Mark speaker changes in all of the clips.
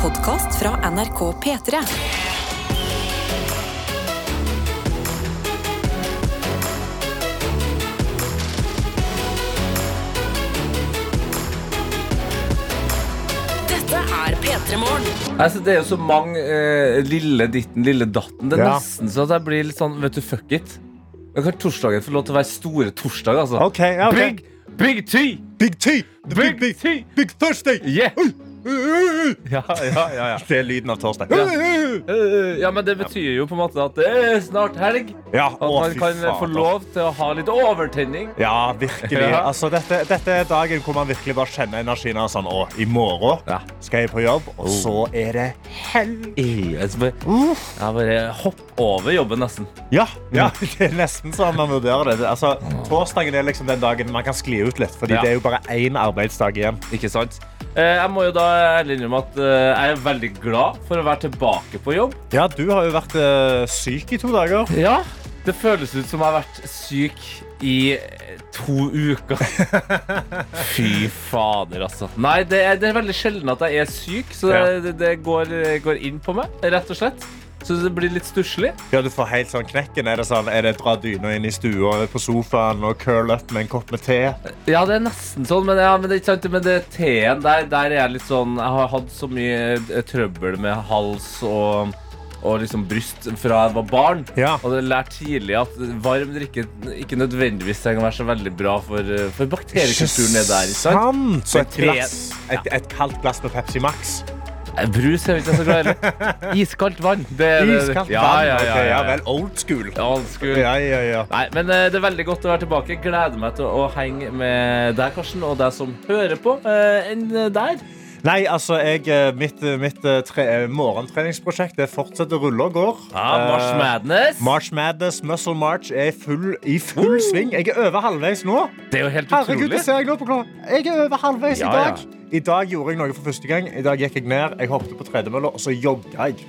Speaker 1: podkast fra NRK P3. Dette er P3 Morgen.
Speaker 2: Altså, det er jo så mange eh, lille ditten, lille datten. Det er
Speaker 3: Ja.
Speaker 2: nesten så at jeg blir litt sånn Vet du, fuck it. Jeg kan torsdagen få lov til å være store torsdag, altså.
Speaker 3: Ok, ja, ok.
Speaker 2: Big, big T!
Speaker 3: Big T! The
Speaker 2: Big T!
Speaker 3: big Thursday!
Speaker 2: Yeah!
Speaker 3: Ja, ja, ja, ja. Det er lyden av torsdag.
Speaker 2: Ja. Eh, ja, men det betyr jo på en måte at det er snart helg.
Speaker 3: Ja,
Speaker 2: At
Speaker 3: å,
Speaker 2: man
Speaker 3: fy
Speaker 2: kan
Speaker 3: faen.
Speaker 2: få lov til å ha litt overtenning.
Speaker 3: Ja, virkelig.
Speaker 2: Ja.
Speaker 3: Altså, dette, dette er dagen hvor man virkelig bare kjenner energien av sånn, å, i morgen
Speaker 2: Ja. Oh.
Speaker 3: skal jeg på jobb, og så er det helg.
Speaker 2: Jeg bare, jeg bare hopper over jobben, nesten.
Speaker 3: Ja, ja, det er nesten sånn man vurderer det. Altså, torsdagen er liksom den dagen man kan skli ut litt, fordi
Speaker 2: Ja.
Speaker 3: det er jo bare én arbeidsdag igjen.
Speaker 2: Ikke sant? Eh, jeg må jo da ærlig innrømme at eh, jeg er veldig glad for å være tilbake på jobb.
Speaker 3: Ja, du har jo vært eh, syk i to dager.
Speaker 2: Ja, det føles ut som jeg har vært syk i eh, to uker. Fy fader, altså. Nei, det er, det er veldig sjelden at jeg er syk, så det,
Speaker 3: Ja.
Speaker 2: det, det går, går inn på meg, rett og slett. Så det blir litt stusslig.
Speaker 3: Ja, du får helt sånn knekken. Er det sånn, er det dra dyna inn i stua på sofaen og curl up med en kopp med te?
Speaker 2: Ja, det er nesten sånn, men, ja, men det er ikke sant. Men det T-en der, der er jeg litt sånn Jeg har hatt så mye eh, trøbbel med hals og, og liksom bryst fra jeg var barn.
Speaker 3: Ja.
Speaker 2: Og det er lært tidlig at varm drikke ikke nødvendigvis trenger å være så veldig bra for, eh, for bakteriekulturen nede der. Ikke sant?
Speaker 3: Sant! Så et,
Speaker 2: Men tre-
Speaker 3: glass, et, et kaldt glass med Pepsi Max.
Speaker 2: Eh, Brus er vi ikke så glad i. Iskaldt vann. Det, er det-
Speaker 3: Iskaldt
Speaker 2: ja,
Speaker 3: vann.
Speaker 2: Ja,
Speaker 3: Ok,
Speaker 2: ja, ja, ja.
Speaker 3: vel, old school.
Speaker 2: Ja, han skulle-
Speaker 3: Ja, ja, ja.
Speaker 2: Nei, men eh, det er veldig godt å være tilbake. Gleder meg til å henge med deg, Karsten, og deg som hører på. eh, Enn der.
Speaker 3: Nei, altså, jeg, eh, mitt, eh, mitt eh, tre, eh, morgentreningsprosjekt det fortsetter å rulle og går.
Speaker 2: Ja, Mars
Speaker 3: Eh,
Speaker 2: Madness.
Speaker 3: March Madness, Muscle March er i full, i full sving. Jeg er over halvveis nå.
Speaker 2: Det er jo helt
Speaker 3: Herregud,
Speaker 2: utrolig.
Speaker 3: det ser jeg nå på klokka. Jeg er over halvveis
Speaker 2: Ja,
Speaker 3: i dag.
Speaker 2: ja.
Speaker 3: I dag gjorde jeg noe for første gang. I dag gikk jeg ned, jeg hoppet på tredemølla, og så jogga jeg.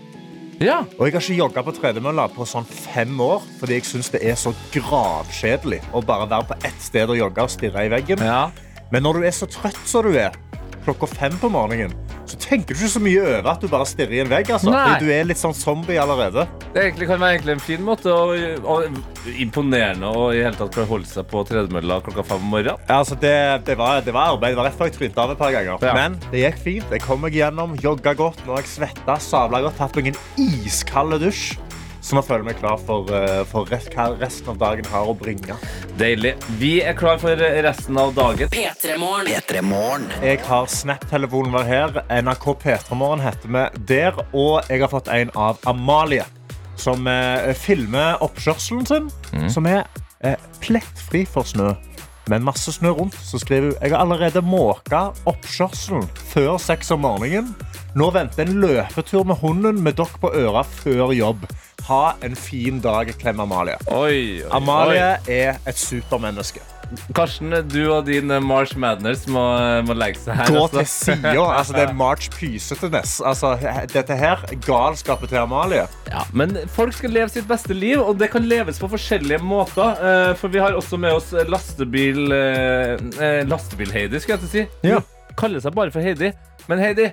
Speaker 2: Ja.
Speaker 3: Og jeg har ikke jogga på tredemølla på sånn fem år, fordi jeg syns det er så gravkjedelig å bare være på ett sted og jogge og stirre i veggen.
Speaker 2: ja.
Speaker 3: Men når du er så trøtt som du er, klokka fem på morgenen, så tenker du ikke så mye over at du bare stirrer i en vegg. Altså.
Speaker 2: Nei.
Speaker 3: Fordi Du er litt sånn zombie allerede.
Speaker 2: Det egentlig kan være egentlig en fin måte å, å imponerende og i hele tatt forholde seg på tredemølla klokka fem om morgenen.
Speaker 3: Ja, Altså, det, det, var, det var arbeid. Det var rett før jeg trynte av et par ganger.
Speaker 2: Ja.
Speaker 3: Men det gikk fint. Jeg kom meg gjennom, jogga godt, nå har jeg svetta, sabla godt, tatt meg en iskald dusj. Så nå føler jeg meg klar for, eh, for rest, hva resten av dagen har å bringe.
Speaker 2: Deilig. Vi er klar for resten av dagen.
Speaker 1: P3 Morgen.
Speaker 3: Jeg har Snap-telefonen vår her. NRK P3morgen heter vi der. Og jeg har fått en av Amalie, som eh, filmer oppkjørselen sin, som er eh, plettfri for snø. Med masse snø rundt så skriver hun jeg har allerede måka oppkjørselen før seks om morgenen. Nå venter en løpetur med hunden med dokk på øra før jobb. Ha en fin dag, klem Amalie.
Speaker 2: Oi, oi,
Speaker 3: Amalie er et supermenneske.
Speaker 2: oi. Karsten, du og din eh, March Madness må, må legge seg her.
Speaker 3: Gå
Speaker 2: altså.
Speaker 3: til sida. Altså, det er March Pysetenes. Altså, he- dette her galskapet til Amalie.
Speaker 2: Ja, men folk skal leve sitt beste liv, og det kan leves på forskjellige måter. eh, For vi har også med oss lastebil... eh, eh, Lastebil-Heidi, skulle jeg til å si.
Speaker 3: Ja.
Speaker 2: Hun Kaller seg bare for Heidi. Men Heidi,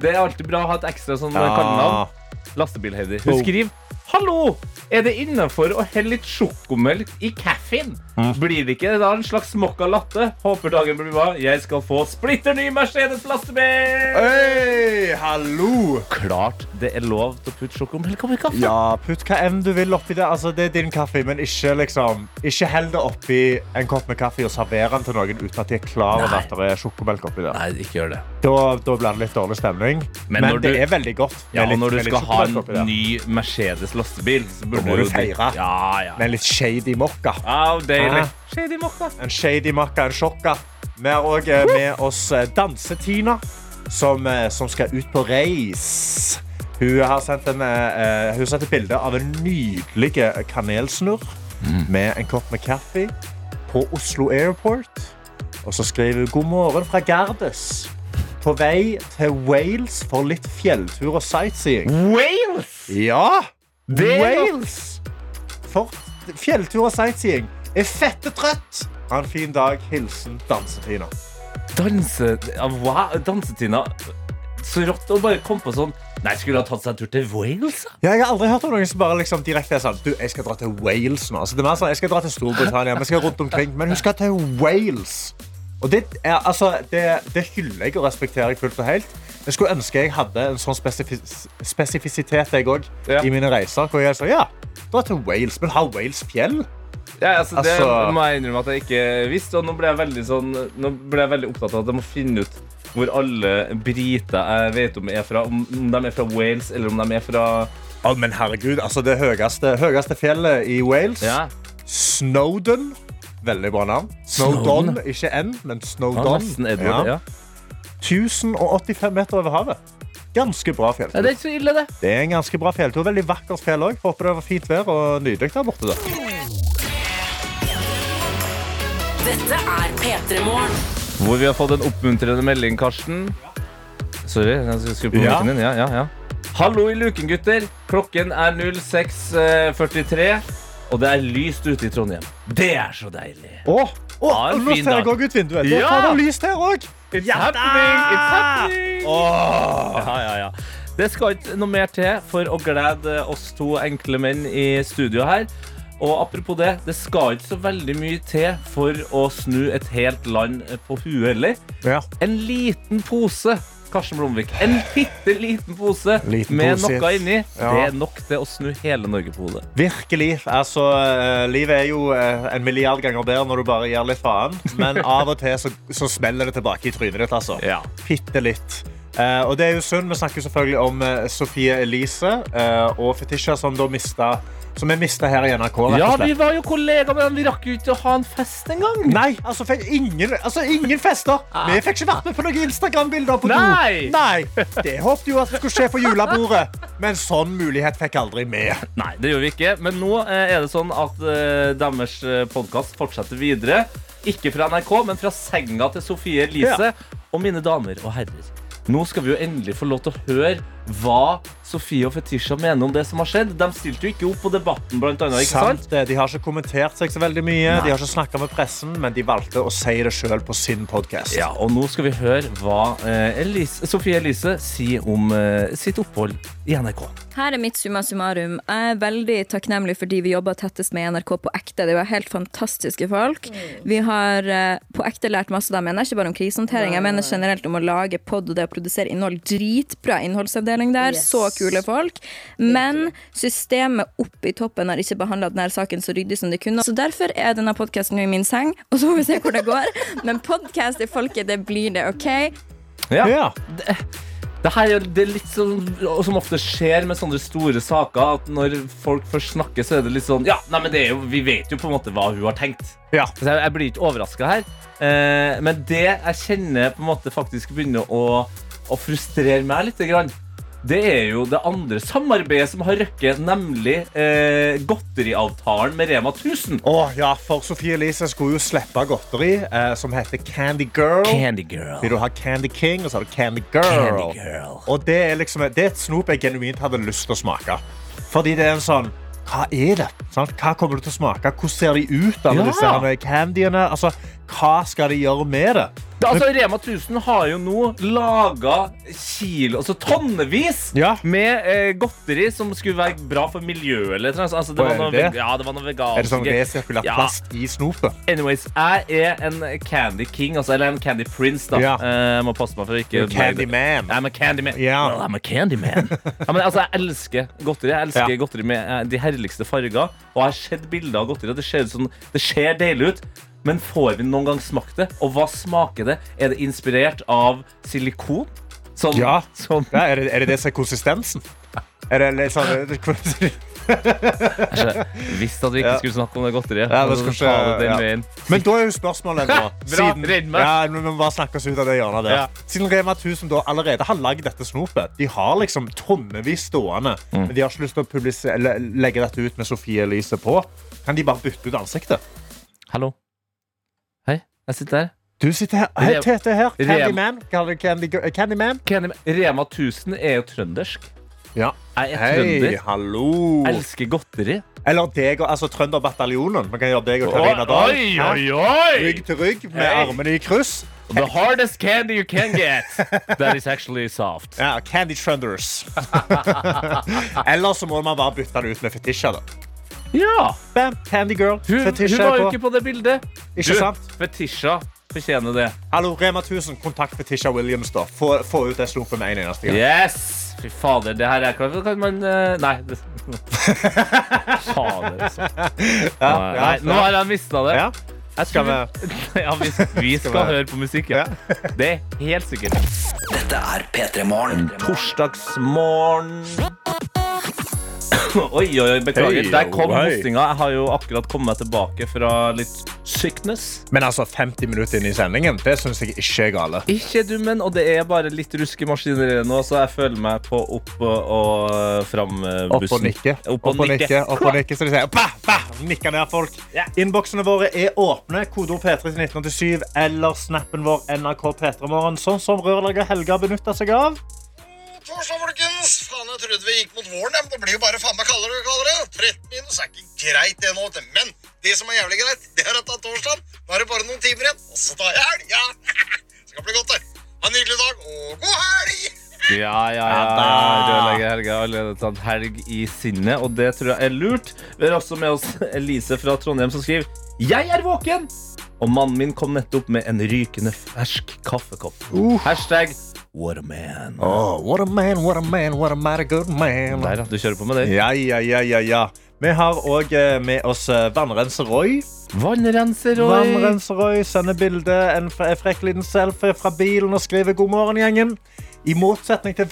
Speaker 2: det er alltid bra å ha et ekstra sånn eh, kallenavn. Lastebil-Heidi. Hun
Speaker 3: Oh.
Speaker 2: skriver Hallo! Er det innafor å helle litt sjokomelk i kaffen?
Speaker 3: Mm.
Speaker 2: Blir det ikke da en slags mocca latte? Håper dagen blir bra. Jeg skal få splitter ny Mercedes lastebil!
Speaker 3: Hei, hallo!
Speaker 2: Klart det er lov til å putte sjokomelk oppi kaffen.
Speaker 3: Ja, putt hva enn du vil oppi det. Altså, det er din kaffe, men ikke, liksom, ikke hell det oppi en kopp med kaffe og server den til noen uten at de er klar over
Speaker 2: Nei.
Speaker 3: at det er sjokomelk oppi det.
Speaker 2: Nei, ikke gjør det.
Speaker 3: Da, da blir det litt dårlig stemning.
Speaker 2: Men
Speaker 3: Men,
Speaker 2: når
Speaker 3: det
Speaker 2: du-
Speaker 3: er veldig godt. med
Speaker 2: Ja, og
Speaker 3: litt-
Speaker 2: når du
Speaker 3: med litt
Speaker 2: skal ha
Speaker 3: sjokomelk oppi det.
Speaker 2: en ny Mercedes lastebil, så burde
Speaker 3: må du
Speaker 2: jo drikke-
Speaker 3: feire.
Speaker 2: Ja, ja.
Speaker 3: Med litt shady mokka.
Speaker 2: Au, deilig.
Speaker 3: Ah.
Speaker 2: Shady mokka.
Speaker 3: En shady makka, en sjokka. Vi har òg med oss eh, Danse-Tina, som, eh, som skal ut på reis. Hun har sendt, en, eh, eh, hun har sendt et bilde av en nydelig eh, kanelsnurr med en kopp med kaffe på Oslo Airport. Og så skriver hun god morgen fra Gardes. På vei til Wales for litt fjelltur og sightseeing.
Speaker 2: Wales!
Speaker 3: Ja!
Speaker 2: Det er godt.
Speaker 3: Wales! For fjelltur og sightseeing. Er fette trøtt. Ha en fin dag. Hilsen Dansetina.
Speaker 2: Danse... ja, Wow, dansetina. så rått å bare komme på sånn Nei, skulle ha tatt seg en tur til Wales? da?
Speaker 3: Ja, jeg har aldri hørt om noen som bare liksom direkte er sånn Du, jeg skal dra til Wales nå. Altså, det er mer sånn, jeg skal dra til Storbritannia, vi skal rundt omkring, men hun skal til Wales. Og det, er, altså, det, det hyller jeg og respekterer jeg fullt og helt. Jeg skulle ønske jeg hadde en sånn spesifis spesifisitet jeg også,
Speaker 2: Ja.
Speaker 3: i mine reiser. Hvor jeg sa ja, dra til Wales, men har Wales fjell?
Speaker 2: Ja, altså, det
Speaker 3: Altså-
Speaker 2: må jeg innrømme at jeg ikke visste. Og nå ble jeg veldig, sånn, nå ble jeg veldig opptatt av at jeg må finne ut hvor alle briter jeg vet om er fra. Om om de er fra Wales, eller om de er fra
Speaker 3: Å, men herregud, altså det høyeste, høyeste fjellet i Wales,
Speaker 2: ja.
Speaker 3: Snowdon. Veldig bra navn. Snowdon, ikke N, men
Speaker 2: Ja,
Speaker 3: Snowdon.
Speaker 2: nesten Edward, ja.
Speaker 3: 1085 meter over havet. Ganske bra fjelltur.
Speaker 2: Nei, det er ikke så ille, det.
Speaker 3: Det er en ganske bra fjelltur. Veldig vakkert fjell òg. Håper det var fint vær og nydelig der borte. da.
Speaker 1: Dette er P3 Morgen.
Speaker 2: Hvor vi har fått en oppmuntrende melding, Karsten. Sorry, jeg skulle på
Speaker 3: Ja.
Speaker 2: mikken din. Ja, ja, ja. Hallo i luken, gutter. Klokken er 06.43, og det er lyst ute i Trondheim. Det er så deilig.
Speaker 3: Å, å,
Speaker 2: Ha en
Speaker 3: nå
Speaker 2: fin
Speaker 3: ser jeg
Speaker 2: dag.
Speaker 3: også ut vinduet. Det er
Speaker 2: Ja!
Speaker 3: fader lyst her òg.
Speaker 2: It's happening! It's happening! Ja, ja, ja. Det skal ikke noe mer til for å glede oss to enkle menn i studio her. Og apropos det, det skal ikke så veldig mye til for å snu et helt land på huet heller.
Speaker 3: Ja.
Speaker 2: En liten pose, Karsten Blomvik. En bitte liten pose
Speaker 3: Liten
Speaker 2: med
Speaker 3: pose.
Speaker 2: noe inni.
Speaker 3: Ja.
Speaker 2: Det er nok til å snu hele Norge på hodet.
Speaker 3: Virkelig. Altså, eh, livet er jo eh, en milliard ganger bedre når du bare gir litt faen. Men av og til så, så smeller det tilbake i trynet ditt. altså.
Speaker 2: Ja.
Speaker 3: Bitte litt. Eh, og det er jo synd. Vi snakker selvfølgelig om eh, Sofie Elise eh, og Fetisha, som da mista Som er mista her i NRK. rett og
Speaker 2: Ja,
Speaker 3: slett.
Speaker 2: vi var jo kollegaer, men vi rakk jo ikke å ha en fest engang.
Speaker 3: Nei, altså, fikk ingen, altså ingen fester. Vi fikk ikke vært med på noen Instagram-bilder på do.
Speaker 2: Nei.
Speaker 3: Nei, Det håpte jo at det skulle skje på julebordet, men sånn mulighet fikk aldri med.
Speaker 2: Nei, det gjør vi ikke. Men nå eh, er det sånn at eh, deres podkast fortsetter videre. Ikke fra NRK, men fra senga til Sofie Elise. Og mine damer og herrer, nå skal vi jo endelig få lov til å høre hva Sofie og Fetisha mener om det som har skjedd. De stilte jo ikke opp på Debatten, blant annet. Ikke sant?
Speaker 3: Sant det. De har ikke kommentert seg så veldig mye, De har ikke snakket med pressen, men de valgte å si det sjøl på sin podkast.
Speaker 2: Ja, og nå skal vi høre hva eh, Elise, Sofie Elise sier om eh, sitt opphold i NRK.
Speaker 4: Her er mitt summa summarum. Jeg er veldig takknemlig for de vi jobber tettest med i NRK på ekte. Det var helt fantastiske folk. Vi har eh, på ekte lært masse, da mener jeg ikke bare om krisehåndtering. Jeg mener generelt om å lage pod og det å produsere innhold. Dritbra innholdsavdeling der.
Speaker 5: Yes.
Speaker 4: Så kule folk. Men systemet oppe i toppen har ikke behandla denne saken så ryddig som de kunne. Så derfor er denne podkasten nå i min seng, og så får vi se hvor det går. Men podkast i folket, det blir det, OK?
Speaker 2: Ja.
Speaker 3: Ja.
Speaker 2: Det her er jo det er litt sånn som ofte skjer med sånne store saker. At når folk først snakker, så er det litt sånn Ja, nei, men det er jo, vi vet jo på en måte hva hun har tenkt.
Speaker 3: Ja.
Speaker 2: Så jeg, jeg blir ikke overraska her. Eh, men det jeg kjenner på en måte faktisk begynner å, å frustrere meg litt, grann, det er jo det andre samarbeidet som har røkket, nemlig eh, godteriavtalen med Rema 1000.
Speaker 3: Å, ja, for Sofie Elise skulle jo slippe godteri eh, som heter Candy Girl.
Speaker 2: Candy Girl.
Speaker 3: Vil du ha Candy King, og så har du Candy Girl.
Speaker 2: Candy Girl.
Speaker 3: Og det er, liksom, det er et snop jeg genuint hadde lyst til å smake. Fordi det er en sånn Hva er det? Sant? Hva kommer du til å smake? Hvordan ser de ut? Alle
Speaker 2: Ja.
Speaker 3: disse her candyene? Altså, hva skal de gjøre med det?
Speaker 2: Altså, Rema 1000 har jo nå laga kilo, altså tonnevis
Speaker 3: Ja.
Speaker 2: med eh, godteri som skulle være bra for miljøet. Eller, noe sånt. altså, det,
Speaker 3: Å,
Speaker 2: var
Speaker 3: er
Speaker 2: noe,
Speaker 3: det det?
Speaker 2: veg- ja, det var noe vegansk.
Speaker 3: Er det sånn resirkulert
Speaker 2: Ja.
Speaker 3: plast i snopet?
Speaker 2: Anyways, jeg er en candy king, altså, eller en candy prince. da
Speaker 3: Ja.
Speaker 2: Eh, Jeg må passe meg for å ikke
Speaker 3: Candyman.
Speaker 2: I'm a candyman.
Speaker 3: Ja.
Speaker 2: Well, I'm a candyman. ja, men, altså, jeg elsker godteri. Jeg elsker
Speaker 3: Ja.
Speaker 2: godteri med eh, de herligste farger. Og jeg har sett bilder av godteri, og det ser, ut som, det ser deilig ut. Men får vi noen gang smakt det? Og hva smaker det? Er det inspirert av silikon? Som,
Speaker 3: Ja.
Speaker 2: som
Speaker 3: Ja, er, det, er det det som er konsistensen? Er det litt sånn ja,
Speaker 2: Visste at vi ikke
Speaker 3: Ja.
Speaker 2: skulle snakke om det godteriet.
Speaker 3: det
Speaker 2: Så
Speaker 3: skal
Speaker 2: ta det den
Speaker 3: ikke- ja.
Speaker 2: veien.
Speaker 3: Men da er jo spørsmålet nå siden,
Speaker 2: redd meg.
Speaker 3: ja, Vi må bare snakke oss ut av det hjørnet der.
Speaker 2: Ja.
Speaker 3: Siden Rema 1000 da allerede har lagd dette snopet De har liksom tonnevis stående,
Speaker 2: Mm.
Speaker 3: men de har ikke lyst til å publise- eller legge dette ut med Sofie Elise på. Kan de bare bytte ut ansiktet?
Speaker 2: Hallo. Hei, jeg sitter her.
Speaker 3: Du sitter her. Hei,
Speaker 2: Rem-
Speaker 3: Tete her.
Speaker 2: Rem-
Speaker 3: Candyman. Kaller du Candy, Candyman?
Speaker 2: Candyman. Rema 1000 er jo trøndersk.
Speaker 3: Ja.
Speaker 2: Jeg er
Speaker 3: Hei,
Speaker 2: trønder.
Speaker 3: hallo.
Speaker 2: elsker godteri.
Speaker 3: Eller deg og altså, Trønderbataljonen. Vi kan gjøre deg og Karina Dahl.
Speaker 2: Oi, oi, oi!
Speaker 3: Rygg til rygg med
Speaker 2: Hei.
Speaker 3: armene i kryss.
Speaker 2: The hardest candy you can get. That is actually soft.
Speaker 3: Ja, Candy Trunders. Eller så må man bare bytte den ut med fetisja. da.
Speaker 2: Ja.
Speaker 3: Bam, Candy Girl.
Speaker 2: Hun, hun
Speaker 3: Fetisja
Speaker 2: var
Speaker 3: er
Speaker 2: jo
Speaker 3: på.
Speaker 2: ikke på det bildet.
Speaker 3: Ikke
Speaker 2: Du,
Speaker 3: sant?
Speaker 2: Fetisha fortjener det.
Speaker 3: Hallo, Rema 1000, kontakt Fetisha Williams. da. Få, få ut det slumpet med en eneste gang.
Speaker 2: Yes! Fy fader, det her er klart. Kan man eh, Nei. Det... fader, altså.
Speaker 3: Ja, ja,
Speaker 2: Nei, nå
Speaker 3: ja.
Speaker 2: har jeg mista det.
Speaker 3: Ja.
Speaker 2: Jeg
Speaker 3: Skal
Speaker 2: skulle- ja, vi, vi skal
Speaker 3: vi-
Speaker 2: høre på musikk, ja. Det er helt sikkert.
Speaker 5: Dette er P3 Morgen.
Speaker 2: Torsdagsmorgen. Oi, oi, oi, beklager.
Speaker 3: Hei, oh,
Speaker 2: Der kom
Speaker 3: hei.
Speaker 2: hostinga. Jeg har jo akkurat kommet meg tilbake fra litt sickness.
Speaker 3: Men altså, 50 minutter inn i sendingen, det syns jeg ikke er gale.
Speaker 2: Ikke dummen, og det er bare litt ruskemaskiner nå, så jeg føler meg på opp og, og fram eh,
Speaker 3: Opp og
Speaker 2: bussen.
Speaker 3: nikke.
Speaker 2: Opp og nikke.
Speaker 3: Opp og nikke, så de sier. Bah, bah, nikke ned folk.
Speaker 2: Ja.
Speaker 3: Innboksene våre er åpne. Kodeord P3 til 1987 eller snappen vår NRK P3morgen, sånn som rørlegger Helga benytter seg av.
Speaker 6: Torsdag, folkens. Faen, jeg trodde vi gikk mot våren, ja, men det blir jo bare faen meg kaldere og kaldere. 13 minus er ikke greit, det nå. vet du. Men det som er jævlig greit, det er at det er torsdag. Nå er det bare noen timer igjen, og så tar jeg helg. Ja. Skal bli godt, det. Ha en nydelig dag, og god helg!
Speaker 2: Ja, ja, ja.
Speaker 3: Ja da.
Speaker 2: Rørlegger Helge har allerede tatt helg i sinnet, og det tror jeg er lurt. Vi har også med oss Elise fra Trondheim som skriver Jeg er våken! Og mannen min kom nettopp med en rykende fersk kaffekopp. Hashtag what a man.
Speaker 3: Oh, what a man, what a man, what a mighty good man.
Speaker 2: Der, ja. Du kjører på med det.
Speaker 3: Ja, ja, ja, ja, ja. Vi har òg med oss eh, vannrenser Roy.
Speaker 2: Vannrenser og
Speaker 3: Vannrenser Roy sender bilde, en f- en frekk liten selfie fra bilen og skriver 'God morgen, gjengen'. I motsetning til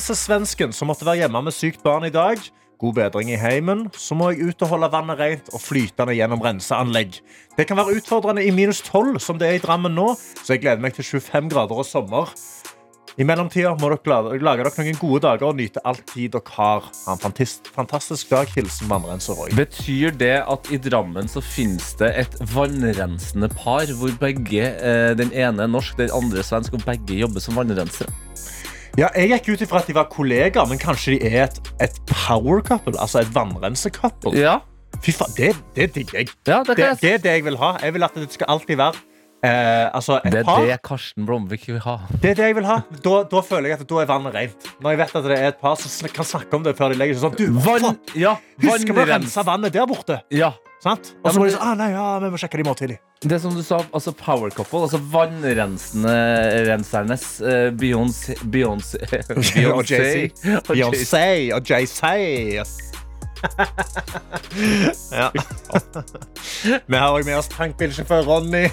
Speaker 3: vannrensesvensken som måtte være hjemme med sykt barn i dag, god bedring i heimen, så må jeg ut og holde vannet rent og flytende gjennom renseanlegg. Det kan være utfordrende i minus 12, som det er i Drammen nå, så jeg gleder meg til 25 grader og sommer. I mellomtida må dere la- lage dere noen gode dager og nyte all tid dere har. Ha en fantist- fantastisk dag. Hilsen vannrenser Roy.
Speaker 2: Betyr det at i Drammen så finnes det et vannrensende par hvor begge, eh, den ene er norsk, den andre er svensk, og begge jobber som vannrensere?
Speaker 3: Ja, jeg gikk ut ifra at de var kollegaer, men kanskje de er et, et power couple? Altså et vannrensekouple?
Speaker 2: Ja,
Speaker 3: Fy faen, det, det digger jeg.
Speaker 2: ja det kan
Speaker 3: Det, det
Speaker 2: jeg
Speaker 3: er det jeg vil ha. Jeg vil at det skal alltid være eh, altså et
Speaker 2: Det er
Speaker 3: par.
Speaker 2: det Karsten Blomvik vil ha.
Speaker 3: Det er det jeg vil ha. Da, da føler jeg at da er vannet rent. Når jeg vet at det er et par som sn- kan snakke om det før de legger seg sånn Du, hva
Speaker 2: Vann,
Speaker 3: faen?
Speaker 2: ja,
Speaker 3: Husker vi å rense
Speaker 2: vannrens.
Speaker 3: vannet der borte?
Speaker 2: Ja.
Speaker 3: Sant?
Speaker 2: Ja,
Speaker 3: Og
Speaker 2: men
Speaker 3: så må de
Speaker 2: det-
Speaker 3: sånn ah, Nei, ja, vi må sjekke det i morgen tidlig.
Speaker 2: Det som du sa, altså power couple, altså vannrensende rensernes eh, Beyoncé Beyoncé
Speaker 3: Og Jay-Z.
Speaker 2: Og Jay-Z.
Speaker 3: Beyoncé og Jay-Z. ja. Vi har også med oss tankbilsjåfør Ronny.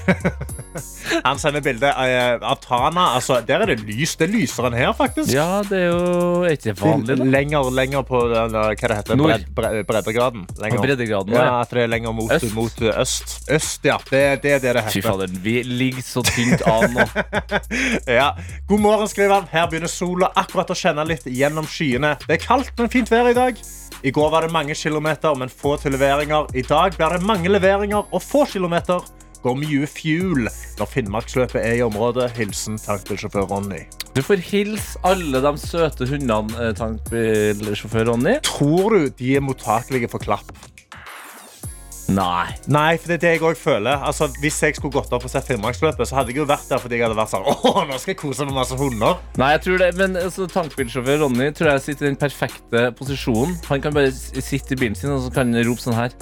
Speaker 3: Han sender bilde av av Tana. Altså, der er det lys. Det er lysere enn her, faktisk.
Speaker 2: Ja, det er jo er ikke vanlig, da.
Speaker 3: Lenger, lenger på den, der- hva det heter,
Speaker 2: Nord.
Speaker 3: bred, bre- breddegraden. Lenger.
Speaker 2: Ja, breddegraden, ja.
Speaker 3: ja, at det er lenger mot
Speaker 2: Øst.
Speaker 3: øst. Mot eh, øst. øst ja, det, det er det det
Speaker 2: Fy
Speaker 3: heter.
Speaker 2: fader, vi ligger så tynt an nå.
Speaker 3: Ja. God morgen, skriver han. Her begynner sola akkurat å kjenne litt gjennom skyene. Det er kaldt, men fint vær i dag. I går var det mange kilometer, men få til leveringer. I dag blir det mange leveringer og få kilometer. Går mye fuel når Finnmarksløpet er i området. Hilsen tankbilsjåfør Ronny.
Speaker 2: Du får hilse alle de søte hundene, eh, tankbilsjåfør Ronny.
Speaker 3: Tror du de er mottakelige for klapp?
Speaker 2: Nei.
Speaker 3: Nei, for det er det jeg også føler. Altså, hvis jeg skulle gått opp og sett Finnmarksløpet, så hadde jeg jo vært der fordi jeg hadde vært sånn Åh, nå skal jeg kose meg med masse hunder.
Speaker 2: Nei, jeg tror det, men altså, Tankbilsjåfør Ronny tror jeg sitter i den perfekte posisjonen. Han kan bare s- sitte i bilen sin og så kan han rope sånn her.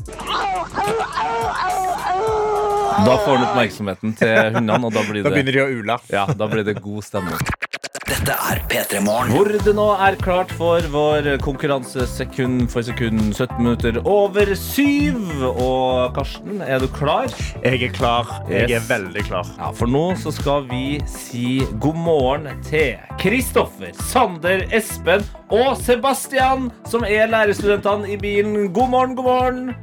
Speaker 2: Da får han oppmerksomheten til hundene, og da blir
Speaker 3: Da
Speaker 2: det,
Speaker 3: begynner de å ule.
Speaker 2: ja, da blir det god stemning.
Speaker 5: Dette er P3 Morgen.
Speaker 2: Hvor det nå er klart for vår konkurranse sekund for sekund, 17 minutter over syv. Og Karsten, er du klar?
Speaker 3: Jeg er klar. Jeg
Speaker 2: Yes.
Speaker 3: er veldig klar.
Speaker 2: Ja, for nå så skal vi si god morgen til Kristoffer, Sander, Espen og Sebastian, som er lærerstudentene i bilen. God morgen, god morgen!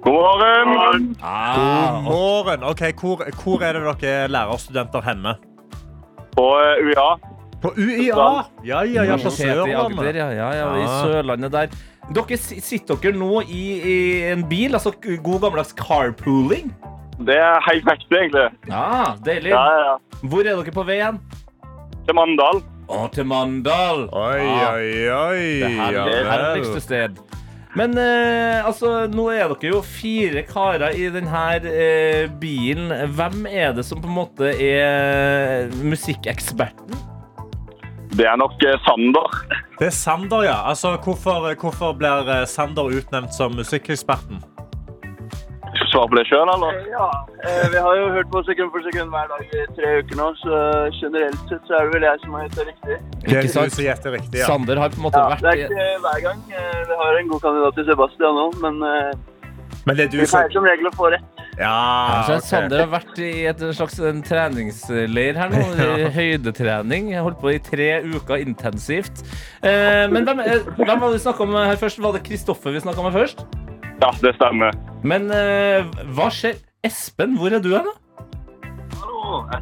Speaker 7: God morgen!
Speaker 2: Ah, og
Speaker 3: Morgen. Ok, hvor, hvor er det dere er lærerstudenter henne?
Speaker 7: På eh, UiA.
Speaker 3: På UiA? Ja, ja, ja, på
Speaker 2: Universitetet i Agder,
Speaker 3: Sørlandet.
Speaker 2: ja, ja, ja, i
Speaker 3: Ja.
Speaker 2: Sørlandet der. Dere si- sitter dere nå i, i en bil, altså god gammeldags carpooling.
Speaker 7: Det er helt riktig, egentlig.
Speaker 2: Ja, deilig.
Speaker 7: Ja, ja, ja.
Speaker 2: Hvor er dere på vei hen?
Speaker 7: Til Mandal.
Speaker 2: Å, til Mandal.
Speaker 3: Oi,
Speaker 2: Ah,
Speaker 3: oi, oi.
Speaker 2: Det
Speaker 3: ja
Speaker 2: herligste
Speaker 3: vel.
Speaker 2: sted. Men eh, altså, nå er dere jo fire karer i denne eh, bilen. Hvem er det som på en måte er musikkeksperten?
Speaker 7: Det er nok eh, Sander.
Speaker 3: Det er Sander, ja. Altså, hvorfor, hvorfor blir eh, Sander utnevnt som musikkeksperten?
Speaker 7: Skal du svare på det sjøl, eller?
Speaker 8: Ja, eh, vi har jo hørt på sekund for sekund hver dag i tre uker nå, så generelt sett så er det vel jeg som har gjetta riktig.
Speaker 3: Det er
Speaker 2: Ikke sant?
Speaker 3: du som gjetter riktig, ja.
Speaker 2: Sander har på en måte
Speaker 8: Ja, det er
Speaker 2: vært i
Speaker 8: ikke hver gang. Eh, Vi har en god kandidat i Sebastian òg, men eh,
Speaker 3: Men det er du
Speaker 8: vi
Speaker 3: som
Speaker 8: pleier som regel å få rett.
Speaker 3: Ja,
Speaker 2: Kanskje
Speaker 3: Ah, ok.
Speaker 2: Sander har vært i et slags en treningsleir her nå. i Høydetrening. Jeg Holdt på i tre uker intensivt. Eh, men hvem, eh, hvem var det vi snakket om her først? Var det Kristoffer vi snakka med først?
Speaker 7: Ja, det stemmer.
Speaker 2: Men eh, hva skjer? Espen, hvor er du hen? da?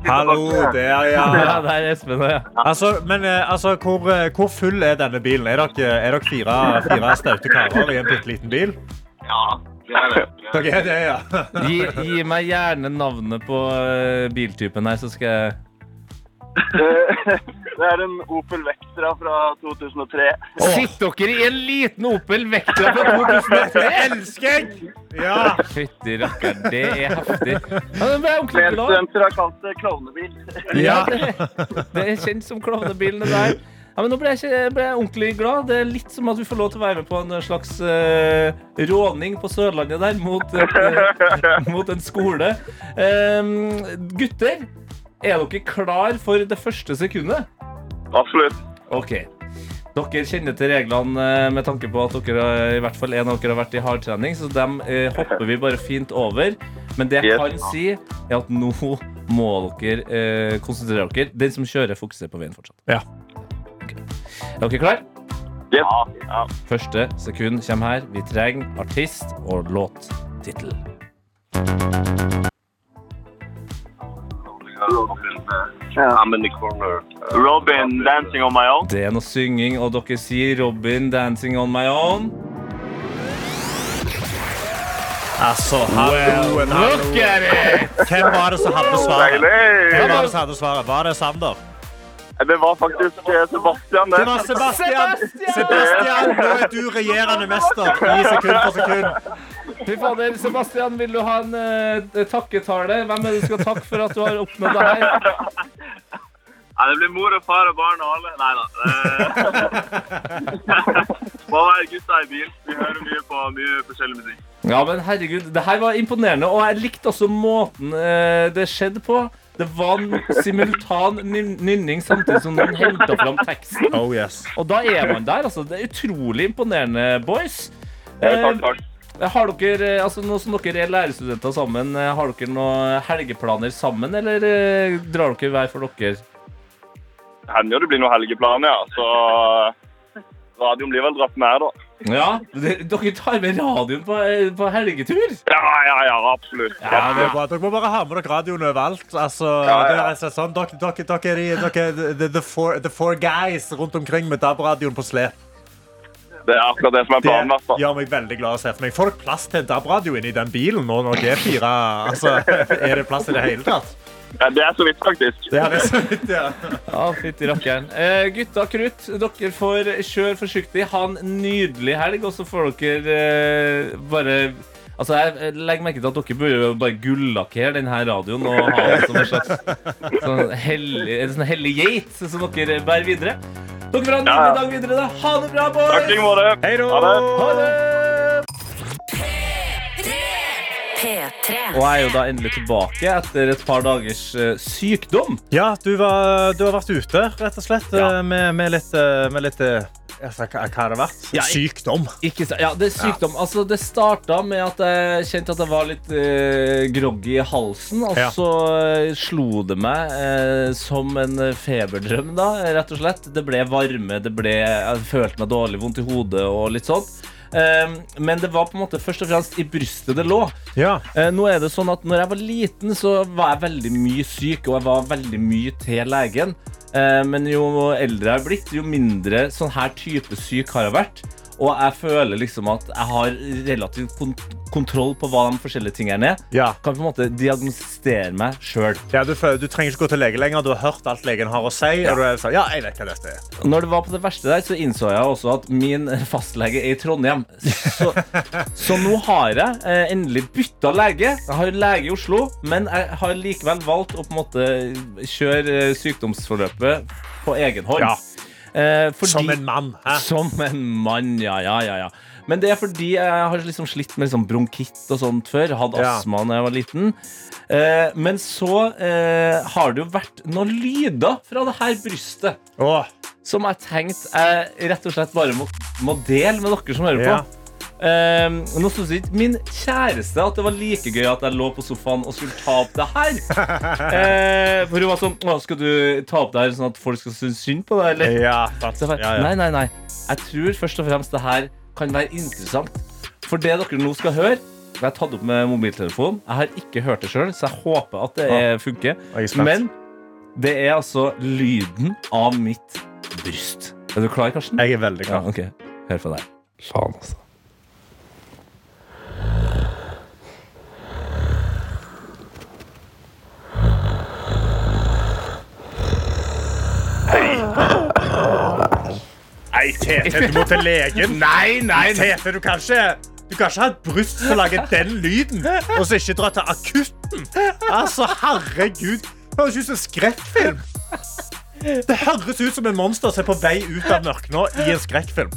Speaker 3: Hallo der, ja.
Speaker 2: Ja, der er Espen. Ja.
Speaker 3: Altså, men eh, altså, hvor, eh, hvor full er denne bilen? Er dere, er dere fire, fire staute karer i en bitte liten bil? Dere er det, ja.
Speaker 2: Gi, gi meg gjerne navnet på eh, biltypen her, så skal jeg
Speaker 8: Eh, Det er en Opel Vectra fra 2003.
Speaker 2: Sitter dere i en liten Opel Vectra fra 2003? Elsker jeg!
Speaker 3: ja.
Speaker 2: Fytti rakker, det er heftig. Ja, den ble jeg ordentlig glad.
Speaker 8: Medstudenter har kalt det klovnebil.
Speaker 2: Ja, det, det er kjent som klovnebilene der. Ja, men nå ble jeg, ikke, ble jeg ordentlig glad. Det er litt som at vi får lov til å være med på en slags eh, råning på Sørlandet der, mot, eh, mot en skole. Ehm, gutter, er dere klar for det første sekundet?
Speaker 7: Absolutt.
Speaker 2: Ok. Dere kjenner til reglene eh, med tanke på at dere, har- i hvert fall en av dere har vært i hardtrening, så dem eh, hopper vi bare fint over. Men det jeg
Speaker 7: Yes.
Speaker 2: kan si, er at nå må dere eh, konsentrere dere. Den som kjører, fokuserer på veien fortsatt.
Speaker 3: Ja.
Speaker 2: Ok. Er dere klare?
Speaker 7: Yes. Ja.
Speaker 2: Første sekund kommer her. Vi trenger artist og låttittel.
Speaker 7: Robin, 'Dancing on my own'.
Speaker 2: Det er noe synging, og dere sier Robin 'Dancing on my own'.
Speaker 3: Altså, hallo, hallo.
Speaker 2: Look at it!
Speaker 3: Hvem var det som hadde svaret? Hvem
Speaker 7: Deilig!
Speaker 3: var det som hadde svaret? Var det Sander?
Speaker 7: Det var faktisk eh, Sebastian,
Speaker 3: Det
Speaker 7: det.
Speaker 3: var Sebastian! Sebastian, nå er du regjerende mester i sekund for sekund.
Speaker 2: Fy fader, Sebastian, vil du ha en eh, takketale? Hvem er det du skal takke for at du har oppnådd det her?
Speaker 7: Nei, det blir mor og far og barn og alle. Nei da. Må være gutta i bil. Vi hører mye på mye forskjellig musikk.
Speaker 2: Ja, men herregud, det her var imponerende, og jeg likte også måten eh, det skjedde på. Det var en simultan nyn- nynning samtidig som noen henta fram teksten.
Speaker 3: Oh, yes.
Speaker 2: Og da er man der, altså. Det er utrolig imponerende, boys. Eh,
Speaker 7: Takk, takk.
Speaker 2: har dere, eh, altså Nå som dere er lærerstudenter sammen, eh, har dere noen helgeplaner sammen, eller eh, drar dere hver for dere?
Speaker 7: Det hender jo det blir noen helgeplaner, ja. Så radioen blir vel dratt med, da.
Speaker 2: Ja, d- Dere tar med radioen på, eh, på helgetur?
Speaker 7: Ja, ja, ja, absolutt.
Speaker 3: Ja, det er bra. Dere må bare ha med dere radioen overalt. Altså,
Speaker 7: ja.
Speaker 3: det er rett og slett sånn. Dere, dere, dere, er de- dere er the, the, four, the four guys rundt omkring med DAB-radioen på slep.
Speaker 7: Det er akkurat det som er
Speaker 3: Det
Speaker 7: planen, i hvert fall.
Speaker 3: gjør meg veldig glad å se for meg. Får dere plass til en DAB-radio inni den bilen nå når dere er fire? Altså, er det plass i det hele tatt?
Speaker 7: Ja, Det er så vidt, faktisk.
Speaker 3: Det er det så vidt, ja.
Speaker 2: Ja, fytti rakkeren. Eh, gutta krutt, dere får kjøre forsiktig. Ha en nydelig helg, og så får dere eh, bare Altså, Jeg legger merke til at dere burde jo bare gullakkere denne radioen og ha den som en slags sånn hellig, en sånn hellig geit som dere bærer videre. Dere får ha en
Speaker 7: Ja, ja.
Speaker 2: nydelig dag videre. da. Ha det bra,
Speaker 7: Takk i like
Speaker 2: boys!
Speaker 7: måte.
Speaker 3: Hei da!
Speaker 7: Ha det.
Speaker 2: Ha det!
Speaker 1: P3.
Speaker 2: Og jeg er jo da endelig tilbake etter et par dagers eh, sykdom.
Speaker 3: Ja, du, var, du har vært ute, rett og slett,
Speaker 2: Ja.
Speaker 3: eh, med, med litt, eh, med litt eh, altså, hva, hva har det vært?
Speaker 2: Ja, jeg-
Speaker 3: Sykdom.
Speaker 2: Ikke sa- ja, det er sykdom. Altså, det starta med at jeg kjente at jeg var litt eh, groggy i halsen, og
Speaker 3: Ja.
Speaker 2: så eh, slo det meg eh, som en eh, feberdrøm, da, rett og slett. Det ble varme, det ble Jeg følte meg dårlig, vondt i hodet og litt sånt. Eh, men det var på en måte først og fremst i brystet det lå.
Speaker 3: Ja.
Speaker 2: Eh, nå er det sånn at når jeg var liten, så var jeg veldig mye syk, og jeg var veldig mye til legen. Eh, men jo eldre jeg har blitt, jo mindre sånn her type syk har jeg vært. Og jeg føler liksom at jeg har relativt kont kontroll på hva de forskjellige tingene er.
Speaker 3: Ja.
Speaker 2: Kan på en måte diagnostere meg sjøl.
Speaker 3: Ja, du, føler- du trenger ikke gå til lege lenger. Du har hørt alt legen har å si. Og du er sånn, ja, jeg vet hva dette er.
Speaker 2: Når det var på det verste der, så innså jeg også at min fastlege er i Trondheim. Så, så nå har jeg eh, endelig bytta lege. Jeg har lege i Oslo, men jeg har likevel valgt å på en måte kjøre eh, sykdomsforløpet på egen hånd.
Speaker 3: Ja.
Speaker 2: Eh, fordi,
Speaker 3: Som en mann. Hæ?
Speaker 2: Som en mann, ja, ja, ja, ja. Men det er fordi jeg har liksom slitt med liksom bronkitt og sånt før. Hadde
Speaker 3: Ja.
Speaker 2: astma da jeg var liten. Eh, men så eh, har det jo vært noen lyder fra det her brystet
Speaker 3: Åh,
Speaker 2: som jeg tenkte jeg rett og slett bare må, må dele med dere som hører på.
Speaker 3: Ja.
Speaker 2: Ehm, nå synes ikke min kjæreste at det var like gøy at jeg lå på sofaen og skulle ta opp det her. Eh, for hun var sånn «Å, Skal du ta opp det her sånn at folk skal synes synd på deg, eller?
Speaker 3: ja, sant.
Speaker 2: Så jeg bare,
Speaker 3: Ja, ja.
Speaker 2: Nei, nei, nei. Jeg tror først og fremst det her kan være interessant. For det dere nå skal høre det har jeg tatt opp med mobiltelefonen. Jeg har ikke hørt det sjøl, så jeg håper at det
Speaker 3: Ah.
Speaker 2: eh, funker.
Speaker 3: Jeg er spent.
Speaker 2: Men det er altså lyden av mitt bryst. Er du klar, Karsten?
Speaker 3: Jeg er veldig
Speaker 2: Ja,
Speaker 3: glad.
Speaker 2: ok. Hør på deg. Faen, altså.
Speaker 3: Nei, Tete, du må til legen. Nei, nei, Tete, du kan ikke du kan ikke ha et bryst som lager den lyden, og så ikke dra til akutten. Altså, herregud. Det høres ut som en skrekkfilm. Det høres ut som en monster som er på vei ut av mørket nå i en skrekkfilm.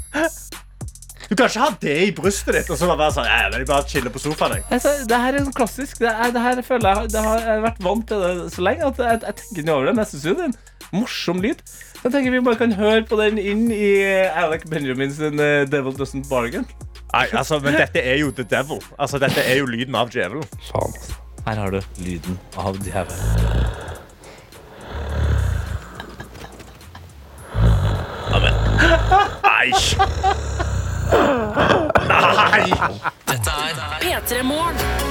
Speaker 3: Du kan ikke ha det i brystet ditt og så bare være sånn, «Ja, men jeg bare chiller på sofaen. Jeg.
Speaker 2: Altså, det her er sånn klassisk. Det, er, det her føler jeg, det har, jeg har vært vant til det så lenge at jeg, jeg tenker ikke over det. Men jeg synes jo det er en morsom lyd. Jeg tenker vi bare kan høre på den inn i Alec Benjamin sin eh, Devil Doesn't Bargain.
Speaker 3: Nei, altså, men dette er jo the devil. Altså, dette er jo lyden av djevelen.
Speaker 2: Her har du lyden av djevelen.
Speaker 3: Nei. Nei.
Speaker 1: P3 Morgen.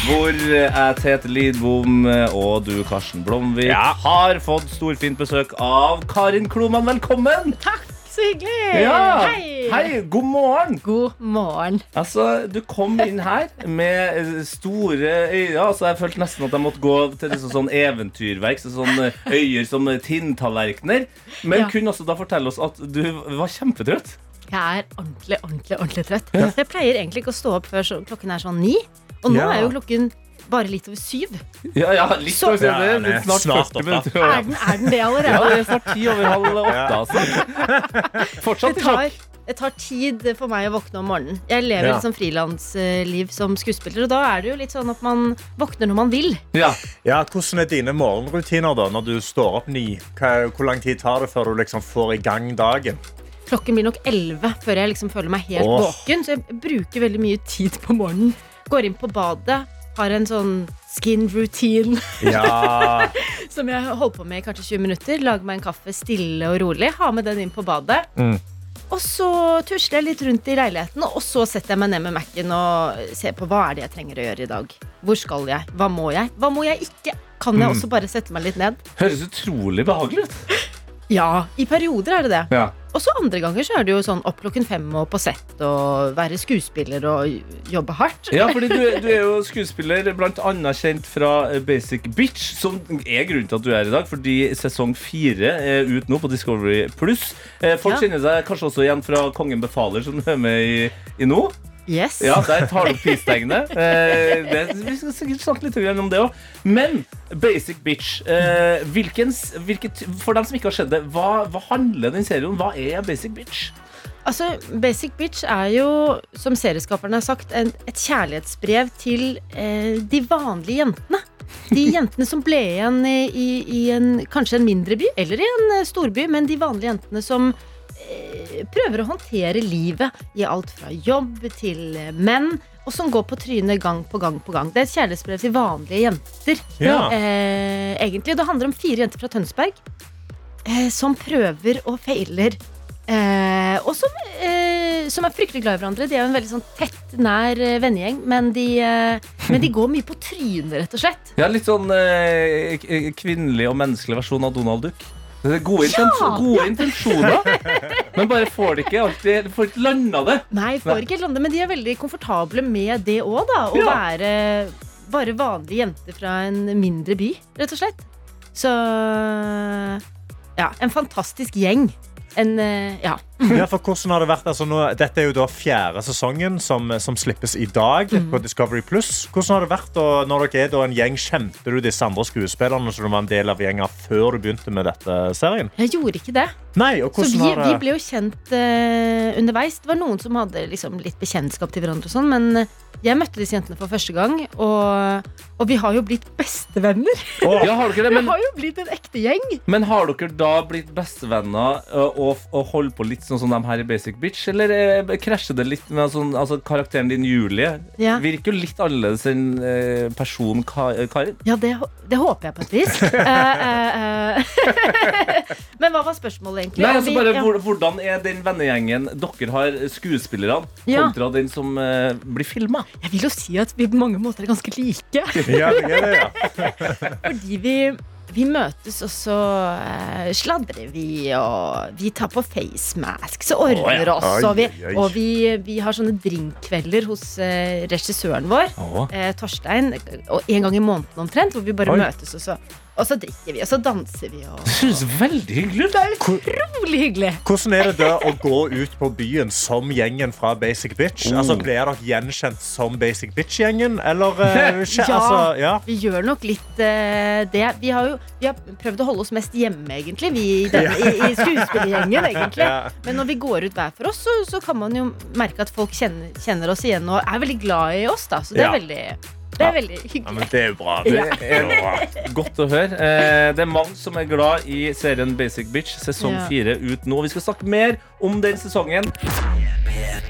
Speaker 2: Hvor jeg, Tete Lidbom eh, og du, Karsten Blomvik,
Speaker 3: Ja.
Speaker 2: har fått storfint besøk av Karin Kloman. Velkommen!
Speaker 9: Takk, så hyggelig!
Speaker 2: Ja.
Speaker 9: Hei!
Speaker 2: Hei, god morgen!
Speaker 9: God morgen.
Speaker 2: Altså, Du kom inn her med eh, store øyne. Altså, jeg følte nesten at jeg måtte gå til liksom sånn eventyrverk. Så sånn eh, øyer som eh, tinntallerkener. Men
Speaker 9: Ja.
Speaker 2: kunne også da fortelle oss at du var kjempetrøtt.
Speaker 9: Jeg er ordentlig, ordentlig, ordentlig trøtt. Jeg pleier egentlig ikke å stå opp før så, klokken er sånn ni. Og nå
Speaker 3: Ja.
Speaker 9: er jo klokken bare litt over syv.
Speaker 2: Ja, ja, litt
Speaker 9: Så-
Speaker 2: over senere,
Speaker 3: Ja,
Speaker 2: men
Speaker 3: det er
Speaker 2: snart
Speaker 3: snart
Speaker 2: 40
Speaker 3: åtte.
Speaker 2: minutter.
Speaker 9: Er den, er den det
Speaker 2: Ja,
Speaker 9: allerede?
Speaker 2: det er snart ti over halv åtte.
Speaker 3: Ja.
Speaker 2: altså.
Speaker 9: Det
Speaker 2: Fortsatt i sjokk.
Speaker 9: tar, det tar tid for meg å våkne om morgenen. Jeg lever
Speaker 3: Ja.
Speaker 9: et sånn frilansliv som skuespiller, og da er det jo litt sånn at man våkner når man vil.
Speaker 2: Ja.
Speaker 3: Ja, hvordan er dine morgenrutiner da, når du står opp ni? Hva, hvor lang tid tar det før du liksom får i gang dagen?
Speaker 9: Klokken blir nok 11 før jeg liksom føler meg helt
Speaker 3: Åh.
Speaker 9: våken, så jeg bruker veldig mye tid på morgenen. Går inn på badet, har en sånn skin routine
Speaker 3: Ja,
Speaker 9: som jeg holder på med i kanskje 20 minutter. Lager meg en kaffe stille og rolig, har med den inn på badet.
Speaker 3: Mm.
Speaker 9: Og så tusler jeg litt rundt i leiligheten, og så setter jeg meg ned med Mac-en og ser på hva er det jeg trenger å gjøre i dag. Hvor skal jeg? Hva må jeg? Hva må jeg ikke? Kan
Speaker 1: Mm.
Speaker 9: jeg også bare sette meg litt ned?
Speaker 2: Høres utrolig behagelig ut.
Speaker 9: Ja, i perioder er det det.
Speaker 2: Ja.
Speaker 9: Og så andre ganger så er det jo sånn opp klokken fem og på sett og være skuespiller og jobbe hardt.
Speaker 2: Ja, fordi du, du er jo skuespiller, blant annet kjent fra eh, Basic Bitch, som er grunnen til at du er her i dag, fordi sesong fire er ut nå på Discovery+. Pluss. Eh, Folk
Speaker 9: Ja.
Speaker 2: kjenner seg kanskje også igjen fra Kongen befaler, som du er med i, i nå.
Speaker 9: Yes.
Speaker 2: Ja, der tar du opp peace-tegnet. Eh, det- vi skal sikkert snakke litt grann om det òg. Men Basic Bitch, eh, hvilken, s- hvilket, for dem som ikke har sett det, hva, hva handler den serien om? Hva er Basic Bitch?
Speaker 9: Altså, Basic Bitch er jo, som serieskaperne har sagt, en, et kjærlighetsbrev til eh, de vanlige jentene. De jentene som ble igjen i, i, i en, kanskje en mindre by, eller i en eh, storby, men de vanlige jentene som eh, prøver å håndtere livet i alt fra jobb til eh, menn, og som går på trynet gang på gang på gang. Det er et kjærlighetsbrev til vanlige jenter,
Speaker 3: Ja.
Speaker 9: eh, egentlig. Og det handler om fire jenter fra Tønsberg eh, som prøver og feiler. Eh, og som, eh, som er fryktelig glad i hverandre. De er jo en veldig sånn tett, nær eh, vennegjeng. Men, de, eh, men de går mye på trynet, rett og slett.
Speaker 2: eh, Ja, Litt sånn eh, k- kvinnelig og menneskelig versjon av Donald Duck. Det er gode, intens
Speaker 9: Ja!
Speaker 2: gode intensjoner, men bare får det ikke alltid Får ikke landa det.
Speaker 9: Nei, får ikke helt lande, men de er veldig komfortable med det òg, da. Å
Speaker 2: Ja.
Speaker 9: være bare vanlige jenter fra en mindre by, rett og slett. Så Ja, en fantastisk gjeng. En eh, Ja.
Speaker 3: Ja, for hvordan har det vært? Altså, nå, dette er jo da fjerde sesongen som, som slippes i dag
Speaker 9: Mm.
Speaker 3: på Discovery Pluss. Hvordan har det vært da, når dere er da en gjeng? Kjente du disse andre skuespillerne som du var en del av gjengen før du begynte med dette serien?
Speaker 9: Jeg gjorde ikke det.
Speaker 3: Nei, og
Speaker 9: Så
Speaker 3: hvordan
Speaker 9: vi,
Speaker 3: har
Speaker 9: vi
Speaker 3: det...
Speaker 9: ble jo kjent eh, underveis. Det var noen som hadde liksom, litt bekjentskap til hverandre, og sånn, men eh, jeg møtte disse jentene for første gang, og, og vi har jo blitt bestevenner.
Speaker 3: Å,
Speaker 2: Ja, har dere det?
Speaker 9: Vi
Speaker 2: Men,
Speaker 9: har jo blitt en ekte gjeng.
Speaker 2: men har dere da blitt bestevenner ø, og, og holder på litt sånn som de her i Basic Bitch, eller ø, krasjer det litt med sånn altså, Karakteren din Julie
Speaker 9: Ja.
Speaker 2: virker jo litt annerledes enn ø, personen Ka- eh, Karin.
Speaker 9: Ja, det, hå- det håper jeg på et vis. Eh, eh, eh. Men hva var spørsmålet, egentlig?
Speaker 2: Nei, altså
Speaker 9: Vi-
Speaker 2: bare
Speaker 9: ja.
Speaker 2: hvor- Hvordan er den vennegjengen dere har, eh, skuespillerne,
Speaker 9: Ja.
Speaker 2: kontra den som ø, blir filma?
Speaker 9: Jeg vil jo si at vi på mange måter er ganske like.
Speaker 3: Ja, det er det, ja.
Speaker 9: Fordi vi, vi møtes, og så eh, sladrer vi, og vi tar på facemask, så ordner oss, og, vi,
Speaker 3: Oi, oi.
Speaker 9: og vi, vi har sånne drinkkvelder hos eh, regissøren vår. eh, Torstein, og en gang i måneden omtrent, hvor vi bare
Speaker 3: Oi.
Speaker 9: møtes, og så, og så drikker vi, og så danser vi, og
Speaker 2: Det høres veldig hyggelig ut.
Speaker 9: Rolig hyggelig.
Speaker 3: Hvordan er det da å gå ut på byen som gjengen fra Basic Bitch? Altså, blir dere gjenkjent som Basic Bitch-gjengen? Eller eh, skje-
Speaker 9: Ja.
Speaker 3: altså, ja.
Speaker 9: Vi gjør nok litt eh, det. Vi har jo vi har prøvd å holde oss mest hjemme, egentlig. Vi i, den, i, i skuespillergjengen, egentlig.
Speaker 3: Ja.
Speaker 9: Men når vi går ut hver for oss, så, så kan man jo merke at folk kjenner, kjenner oss igjen og er veldig glad i oss, da. Så det er
Speaker 3: Ja.
Speaker 9: veldig, det er veldig
Speaker 3: ja,
Speaker 9: hyggelig.
Speaker 3: men det er jo bra.
Speaker 2: Det er godt å høre. Eh, Det er mange som er glad i serien Basic Bitch, sesong
Speaker 9: Ja.
Speaker 2: fire ut nå. Vi skal snakke mer om den sesongen,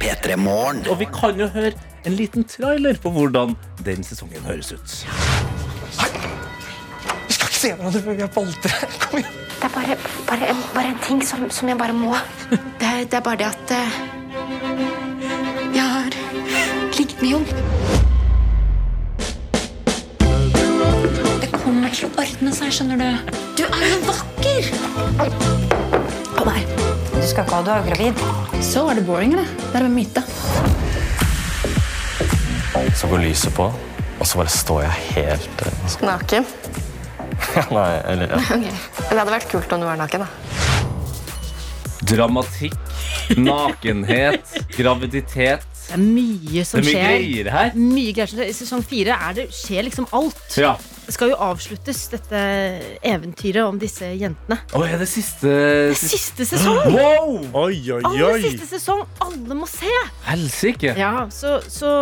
Speaker 5: P3 Morgen.
Speaker 2: og vi kan jo høre en liten trailer på hvordan den sesongen høres ut.
Speaker 10: Det er bare, bare, en, bare en ting som, som jeg bare må. Det er, det er bare det at eh, Jeg har ligget med Jon. Det kommer til å ordne seg, skjønner du. Du er jo vakker! Å nei. Du skal ikke ha Du er jo gravid. Så er det boring, eller? Det er en myte.
Speaker 11: Så går lyset på, og så bare står jeg helt eh,
Speaker 10: Naken?
Speaker 11: Nei, eller ja.
Speaker 10: Det hadde vært kult om du var naken, da.
Speaker 2: Dramatikk, nakenhet, graviditet.
Speaker 9: Det er mye
Speaker 2: Det
Speaker 9: som
Speaker 2: er mye
Speaker 9: skjer.
Speaker 2: greier her.
Speaker 9: Mye greier. som skjer. I sesong fire er det, skjer liksom alt.
Speaker 2: Ja.
Speaker 9: Det skal jo avsluttes, dette eventyret om disse jentene.
Speaker 2: Og er det siste, siste.
Speaker 9: Siste sesong!
Speaker 2: Wow!
Speaker 3: Oi, oi,
Speaker 9: Aller
Speaker 3: oi.
Speaker 9: siste sesong! Alle må se!
Speaker 2: Helsike.
Speaker 9: Ja, så, så,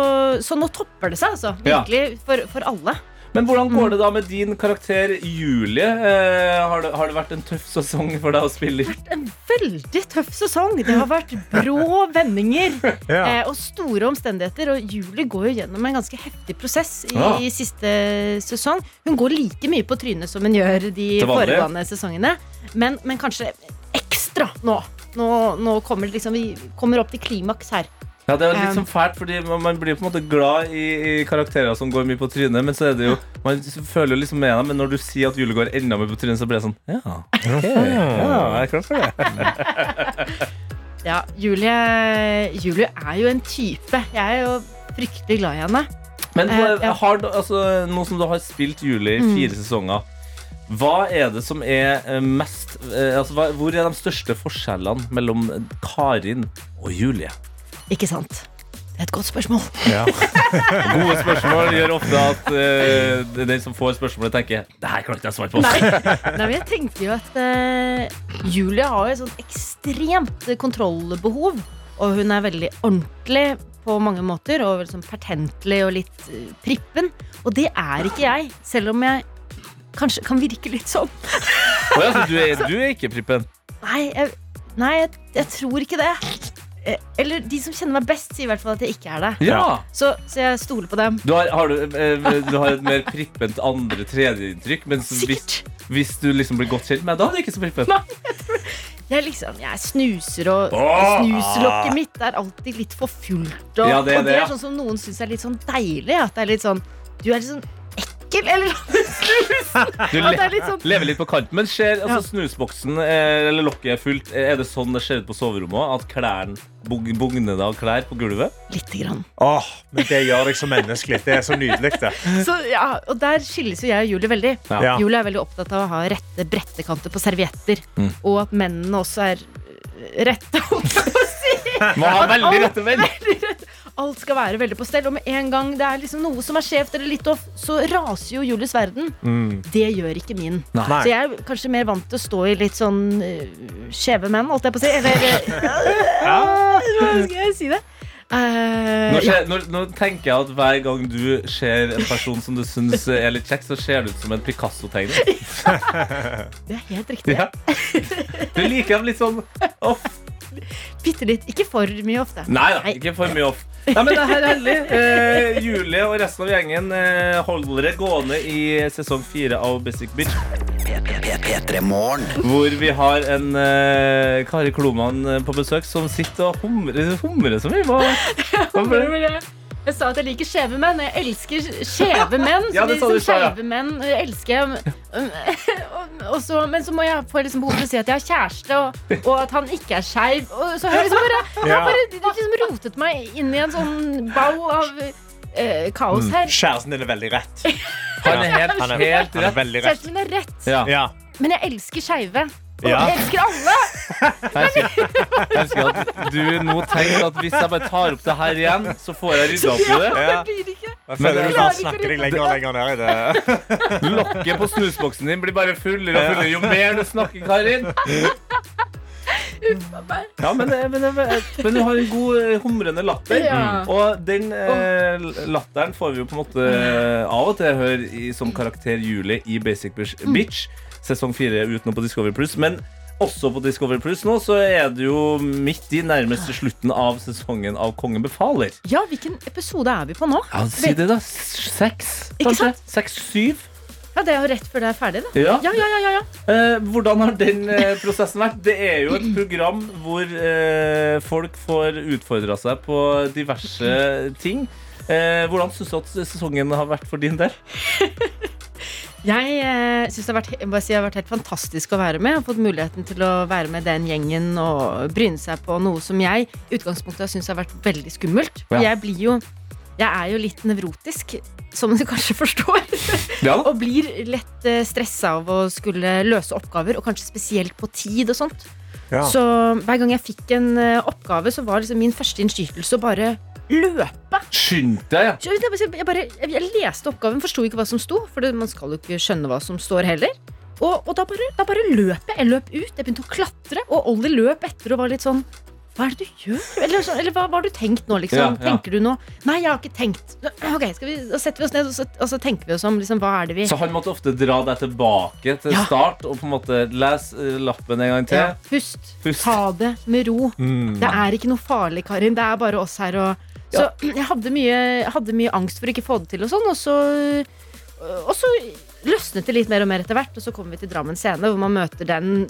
Speaker 9: så nå topper det seg, altså.
Speaker 2: Ja.
Speaker 9: Virkelig for, for alle.
Speaker 2: Men hvordan
Speaker 9: Mm.
Speaker 2: går det da med din karakter Julie? Eh, har, det, har det vært en tøff sesong for deg å spille i?
Speaker 9: En veldig tøff sesong. Det har vært brå vendinger
Speaker 3: Ja.
Speaker 9: eh, og store omstendigheter. Og Julie går jo gjennom en ganske heftig prosess i,
Speaker 2: Ja.
Speaker 9: i siste sesong. Hun går like mye på trynet som hun gjør de
Speaker 2: Til vanlig.
Speaker 9: foregående sesongene, men, men kanskje ekstra nå. Nå, nå kommer det liksom, vi kommer opp til klimaks her.
Speaker 2: Ja, det er jo litt
Speaker 9: Um.
Speaker 2: sånn fælt, fordi man- man blir på en måte glad i, i karakterer som går mye på trynet, men så er det jo Man s- føler jo liksom med dem, men når du sier at Julie går enda mer på trynet, så blir det sånn Ja.
Speaker 3: Ja, jeg kan se det.
Speaker 9: Ja, Julie, Julie er jo en type. Jeg er jo fryktelig glad i henne.
Speaker 2: Men
Speaker 9: Eh,
Speaker 2: eh,
Speaker 9: ja. Mm.
Speaker 2: har, du- altså, nå som du har spilt Julie i fire sesonger, hva er det som er eh, mest eh, altså, hva, Hvor er de største forskjellene mellom Karin og Julie?
Speaker 9: Ikke sant? Det er et godt spørsmål.
Speaker 2: Gode spørsmål gjør ofte at eh, den som får spørsmålet, tenker Det her kan ikke jeg svare på.
Speaker 9: Nei, Nei men jeg tenker jo at eh, Julie har jo et sånt ekstremt kontrollbehov. Og hun er veldig ordentlig på mange måter, og veldig sånn pertentlig og litt eh, prippen. Og det er ikke jeg, selv om jeg kanskje kan virke litt sånn.
Speaker 2: Å ja, så du, er, du er ikke Prippen?
Speaker 9: Nei, jeg, nei, jeg, jeg tror ikke det. Eh, Eller de som kjenner meg best, sier i hvert fall at jeg ikke er det.
Speaker 2: Ja!
Speaker 9: Så, så jeg stoler på dem.
Speaker 2: Du har, har du, eh, du har et mer prippent andre tredjeinntrykk, mens hvis,
Speaker 9: Sikkert.
Speaker 2: hvis du liksom blir godt kjent med deg, da er det ikke så prippent.
Speaker 9: Nei. Jeg, liksom, jeg snuser, og
Speaker 2: Åh!
Speaker 9: snuslokket mitt er alltid litt for fullt. Og,
Speaker 2: Ja, det er
Speaker 9: og det
Speaker 2: det, ja.
Speaker 9: er sånn som noen syns er litt sånn deilig. At det er litt sånn Du er litt sånn ekkel. sykkel eller snus.
Speaker 2: Du
Speaker 9: At det
Speaker 2: le
Speaker 9: er litt sånn
Speaker 2: lever litt på kant. Men ser altså, snusboksen eh, eller lokket er fullt, er det sånn det ser ut på soverommet òg? At klærne bug bugner det av klær på gulvet?
Speaker 9: Lite grann.
Speaker 3: Åh, men det gjør deg så menneskelig. Det er så nydelig, det.
Speaker 9: Så, ja, og der skilles jo jeg og Julie veldig.
Speaker 3: Ja. Ja.
Speaker 9: Julie er veldig opptatt av å ha rette brettekanter på servietter.
Speaker 3: Mm.
Speaker 9: Og at mennene også er eh, rette. holdt jeg på å si.
Speaker 2: Må ha
Speaker 9: At
Speaker 2: veldig
Speaker 9: alt-
Speaker 2: rette menn.
Speaker 9: veldig rett- Alt skal være veldig på stell. Og med en gang det er liksom noe som er skjevt eller litt off, så raser jo Julies verden.
Speaker 2: Mm.
Speaker 9: Det gjør ikke min.
Speaker 12: Nei.
Speaker 9: Så jeg er kanskje mer vant til å stå i litt sånn eh, skjeve menn, holdt jeg på å si. Eller Hvordan skal jeg si det? Eh,
Speaker 2: Nå,
Speaker 9: ja.
Speaker 2: skjer, nå, nå tenker jeg at hver gang du ser en person som du syns er litt kjekk, så ser det ut som en Picasso-tegning.
Speaker 9: Det er helt riktig.
Speaker 2: Ja. Du liker dem litt sånn off.
Speaker 9: Bitte litt. Ikke for mye ofte.
Speaker 2: Nei da, ikke for mye off. Nei, men det her er herlig. Eh, Julie og resten av gjengen eh, holder det gående i sesong fire av Basic Bitch. Hvor vi har en eh, Kari Kloman eh, på besøk som sitter og humrer, humrer så mye. Hva- Hva ble det?
Speaker 9: Jeg sa at jeg liker skjeve menn. Jeg elsker skjeve menn.
Speaker 2: Ja,
Speaker 9: så
Speaker 2: det
Speaker 9: de
Speaker 2: sa
Speaker 9: som
Speaker 2: du sa, ja.
Speaker 9: skeive menn eh, elsker jeg. Um, og- og så- Men så må jeg få liksom behov for å si at jeg har kjæreste, og, og at han ikke er skeiv. Og Så har jeg liksom bare,
Speaker 3: Ja.
Speaker 9: han bare det liksom rotet meg inn i en sånn bau av eh, kaos her.
Speaker 3: Mm. Kjæresten din er veldig rett.
Speaker 2: Han er helt-
Speaker 3: han er,
Speaker 2: helt
Speaker 3: han er
Speaker 2: rett.
Speaker 3: veldig rett.
Speaker 9: Kjæresten min er rett,
Speaker 3: Ja.
Speaker 9: men jeg elsker skeive. Og
Speaker 2: Ja.
Speaker 9: jeg elsker alle.
Speaker 2: Jeg elsker at du nå tenker at hvis jeg bare tar opp det her igjen, så får jeg rydda opp i det.
Speaker 3: Ja. Jeg føler du bare snakker deg lenger og lenger ned i det.
Speaker 2: Lokket på snusboksen din blir bare fullere og fullere jo mer du snakker, Karin. Ja, men, men, men du har en god eh, humrende latter. Mm.
Speaker 9: Ja.
Speaker 2: Og den eh, latteren får vi jo på en måte eh, av og til høre i, som karakter Julie i Basic Bitch,
Speaker 9: Mm.
Speaker 2: Bitch sesong fire utenom på Discovery Pluss. Men også på Discovery Pluss nå så er det jo midt i nærmest slutten av sesongen av Kongen befaler.
Speaker 9: Ja, hvilken episode er vi på nå?
Speaker 2: Ja, si det, da. Seks,
Speaker 9: Ikke
Speaker 2: kanskje?
Speaker 9: sant?
Speaker 2: Seks-syv?
Speaker 9: Ja, det er jo rett før det er ferdig, da.
Speaker 2: Ja.
Speaker 9: ja, ja, ja, ja.
Speaker 2: Eh, hvordan har den eh, prosessen vært? Det er jo et program hvor eh, folk får utfordra seg på diverse ting. Eh, hvordan syns du at sesongen har vært for din del?
Speaker 9: Jeg eh, synes det har vært, jeg må bare si, det har vært helt fantastisk å være med. Jeg har fått muligheten til å være med den gjengen og bryne seg på noe som jeg i utgangspunktet har syntes har vært veldig skummelt. For
Speaker 12: Ja.
Speaker 9: Jeg blir jo jeg er jo litt nevrotisk, som du kanskje forstår.
Speaker 12: Ja da.
Speaker 9: og blir lett eh, stressa av å skulle løse oppgaver, og kanskje spesielt på tid og sånt.
Speaker 12: Ja.
Speaker 9: Så hver gang jeg fikk en eh, oppgave, så var liksom min første innskytelse å bare løpe.
Speaker 2: Skynd deg,
Speaker 9: Så Jeg, bare- jeg, bare, jeg, jeg leste oppgaven, forsto ikke hva som sto. For det, man skal jo ikke skjønne hva som står heller. Og, og da, bare, da bare løp jeg. Jeg løp ut, jeg begynte å klatre, og Ollie løp etter og var litt sånn Hva er det du gjør? Eller, sånn, eller hva hva har du tenkt nå, liksom?
Speaker 12: Ja, ja.
Speaker 9: Tenker du nå? Nei, jeg har ikke tenkt. Ok, skal vi, Da setter vi oss ned, og så, og så tenker vi oss om. Liksom, hva er det vi
Speaker 2: Så han måtte ofte dra deg tilbake til start og på en måte lese eh, lappen en gang til.
Speaker 9: Ja, Pust.
Speaker 2: Pust.
Speaker 9: Ta det med ro.
Speaker 2: Mm.
Speaker 9: Det er ikke noe farlig, Karin. Det er bare oss her. Og... Så jeg hadde mye, jeg hadde mye angst for å ikke få det til, og sånn. Og så, og så løsnet det litt mer og mer etter hvert. Og så kommer vi til Drammen scene, hvor man møter den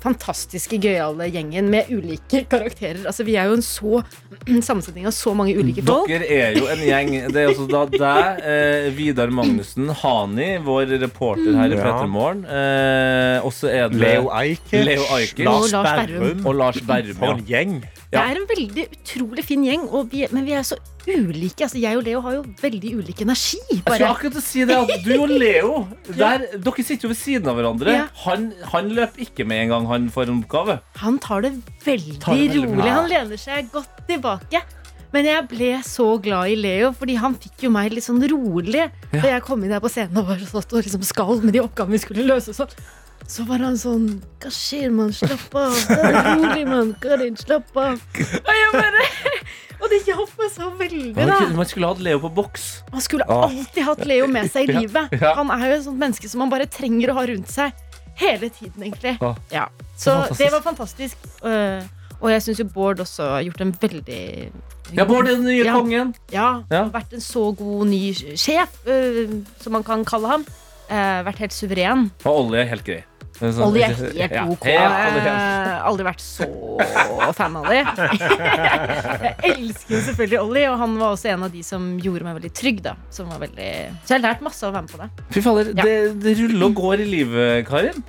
Speaker 9: fantastiske gøyale gjengen med ulike karakterer. Altså, vi er jo en så sammensetning av så mange ulike folk.
Speaker 2: Dere er jo en gjeng. Det er også da deg, eh, Vidar Magnussen, Hani, vår reporter her i
Speaker 3: Ja.
Speaker 2: P3 Morgen. Eh, og så er det
Speaker 3: Leo Ajkic,
Speaker 2: Leo Ajkic.
Speaker 3: Lars Og Lars Berrum. Berrum.
Speaker 2: Og Lars Berrum.
Speaker 3: For en gjeng.
Speaker 9: Det er en veldig utrolig fin gjeng, og vi, men vi er så ulike. Altså, jeg og Leo har jo veldig ulik energi.
Speaker 2: Altså, Jeg skulle akkurat til å si det at du og Leo der, Dere sitter jo ved siden av hverandre.
Speaker 9: Ja.
Speaker 2: Han, han løp ikke med en gang han får en oppgave.
Speaker 9: Han tar det veldig
Speaker 2: Tar det veldig
Speaker 9: rolig.
Speaker 2: bra.
Speaker 9: Han lener seg godt tilbake. Men jeg ble så glad i Leo, fordi han fikk jo meg litt sånn rolig. Da jeg kom inn der på scenen og bare satt og liksom skalv med de oppgavene vi skulle løse. og Sånn. Så var han sånn Hva skjer, mann? Slapp av. Ta det rolig, mann. Karin, slapp av. Og jeg bare Og det hjalp meg så veldig,
Speaker 2: Man,
Speaker 9: da.
Speaker 2: kunne- man skulle hatt Leo på boks.
Speaker 9: Man skulle
Speaker 2: Åh.
Speaker 9: alltid hatt Leo med seg i
Speaker 2: Ja,
Speaker 9: livet.
Speaker 2: ja.
Speaker 9: Han er jo et sånt menneske som man bare trenger å ha rundt seg hele tiden, egentlig.
Speaker 2: Åh.
Speaker 9: Ja. Så
Speaker 2: Fantastisk.
Speaker 9: det var fantastisk. Eh, Og jeg syns jo Bård også har gjort en veldig
Speaker 2: Ja, Bård er den nye kongen.
Speaker 9: Ja.
Speaker 2: Ja.
Speaker 9: har Vært en så god ny øh, sjef, eh, som man kan kalle ham. Eh, vært helt suveren.
Speaker 2: Og Ollie er helt grei. Sånn-
Speaker 9: Ollie er helt
Speaker 2: Ja,
Speaker 9: OK.
Speaker 2: helt Ollie,
Speaker 9: Eh, Aldri vært så fan av det. Jeg elsker jo selvfølgelig Ollie, og han var også en av de som gjorde meg veldig trygg. Da, som var veldig... Så jeg har lært masse av å være med på det.
Speaker 2: Fy fader,
Speaker 9: Ja.
Speaker 2: det, det ruller og går i livet, Karin.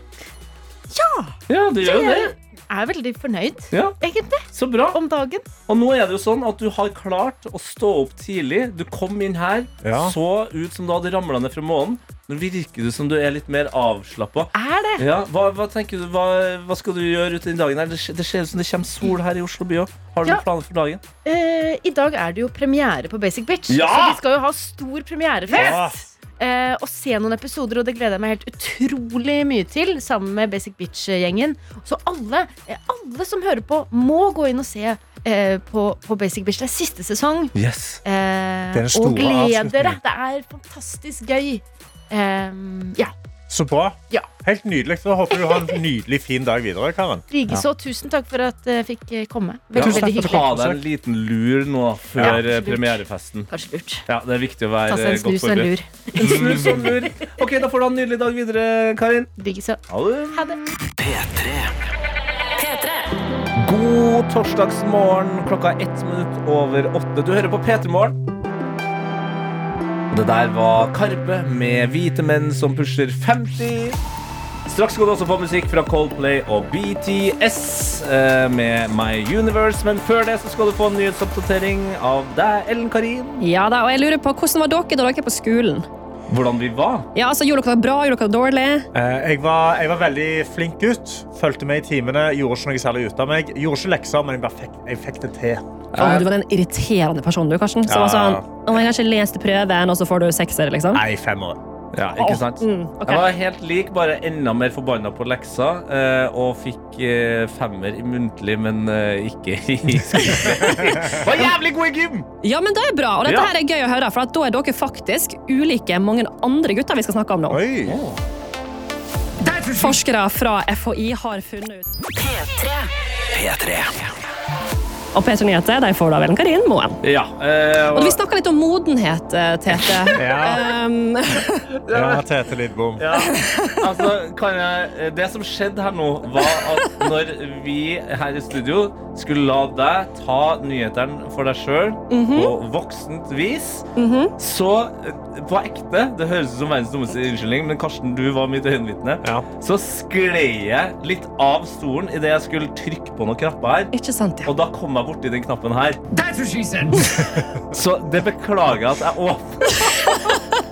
Speaker 2: Ja! Ja, det gjør jo det.
Speaker 9: Jeg er veldig fornøyd,
Speaker 2: Ja.
Speaker 9: egentlig.
Speaker 2: Så bra.
Speaker 9: Om dagen.
Speaker 2: Og nå er det jo sånn at du har klart å stå opp tidlig. Du kom inn her,
Speaker 3: Ja.
Speaker 2: så ut som du hadde ramla ned fra månen. Nå virker du som du er litt mer avslappa.
Speaker 9: Er det?
Speaker 2: Ja, hva, hva tenker du, hva, hva skal du gjøre ute den dagen? her? Det ser det ser ut som det kommer sol her i Oslo by òg. Har du
Speaker 9: Ja.
Speaker 2: noen planer for dagen?
Speaker 9: Eh, I dag er det jo premiere på Basic Bitch,
Speaker 2: Ja!
Speaker 9: så vi skal jo ha stor premierefest. Eh, og se noen episoder, og det gleder jeg meg helt utrolig mye til. Sammen med Basic Bitch-gjengen. Så alle, eh, alle som hører på, må gå inn og se eh, på, på Basic Bitch. Det er siste sesong.
Speaker 2: Yes.
Speaker 9: Eh,
Speaker 3: Det er den store
Speaker 9: og gled dere!
Speaker 3: avslutningen.
Speaker 9: Det er fantastisk gøy. Eh, ja.
Speaker 3: Så bra.
Speaker 9: Ja.
Speaker 3: Helt nydelig. Da håper du har en nydelig fin dag videre, Karen.
Speaker 9: Likeså, tusen takk for at jeg fikk eh, komme.
Speaker 2: Ja,
Speaker 9: Veldig, veldig
Speaker 2: Ta
Speaker 9: hyggelig.
Speaker 2: deg en liten lur nå
Speaker 9: Ja,
Speaker 2: før
Speaker 9: kanskje
Speaker 2: eh,
Speaker 9: lurt.
Speaker 2: premierefesten.
Speaker 9: Kanskje lurt.
Speaker 2: Ja, det er viktig å være
Speaker 9: Ta seg
Speaker 2: eh,
Speaker 9: en
Speaker 2: godt
Speaker 9: snus og en lur.
Speaker 2: forberedt. En snus og en lur. Ok, da får du ha en nydelig dag videre, Karin.
Speaker 9: Likeså.
Speaker 2: Ha det.
Speaker 9: Ha det.
Speaker 2: God torsdagsmorgen. Klokka er ett minutt over åtte. Du hører på P3morgen. Og Det der var Karpe med hvite menn som pusher 50. Straks skal du også få musikk fra Coldplay og BTS eh, med My Universe. Men før det så skal du få en nyhetsoppdatering av deg, Ellen Karin.
Speaker 12: Ja da, og jeg lurer på Hvordan var dere da dere på skolen?
Speaker 2: Hvordan vi var.
Speaker 12: Ja, altså, Gjorde dere det bra? Gjorde dere det dårlig?
Speaker 3: Eh, Jeg var, jeg var veldig flink gutt. Fulgte med i timene. Gjorde ikke noe særlig ut av meg. Gjorde ikke lekser, men jeg, bare fikk, jeg fikk det til.
Speaker 12: Å, du var den irriterende personen, du, Karsten. Som
Speaker 3: Ja.
Speaker 12: var sånn Å, jeg har ikke lest prøven, og så får du sekser, liksom.
Speaker 3: Nei, fem år.
Speaker 2: Ja, ikke sant?
Speaker 12: Mm, ok.
Speaker 2: Jeg var helt lik, bare enda mer forbanna på leksa. eh, og fikk eh, femmer i muntlig, men eh, ikke i skriftlig. var jævlig god i gym!
Speaker 12: Ja, men det er bra, og dette
Speaker 2: Ja.
Speaker 12: her er gøy å høre, for at da er dere faktisk ulike mange andre gutter vi skal snakke om nå. Forskere fra FHI har funnet ut
Speaker 5: P3.
Speaker 12: Og P3 Nyheter de får da vel en Karin Moen.
Speaker 2: Ja, eh,
Speaker 12: Og vi snakka litt om modenhet, eh, Tete.
Speaker 3: Ja.
Speaker 12: Um,
Speaker 3: Ja, Tete Lidbom.
Speaker 2: Ja. Altså, kan jeg, det som skjedde her nå, var at når vi her i studio skulle la deg ta nyhetene for deg sjøl
Speaker 12: Mhm.
Speaker 2: på voksent vis,
Speaker 12: mhm.
Speaker 2: så eh, på ekte Det høres ut som verdens dummeste unnskyldning, men Karsten, du var mitt øyenvitne. Så skled jeg litt av stolen idet jeg skulle trykke på noen knapper her.
Speaker 12: Ikke sant,
Speaker 2: Og da kom jeg borti den knappen her. så det beklager jeg at jeg åpna.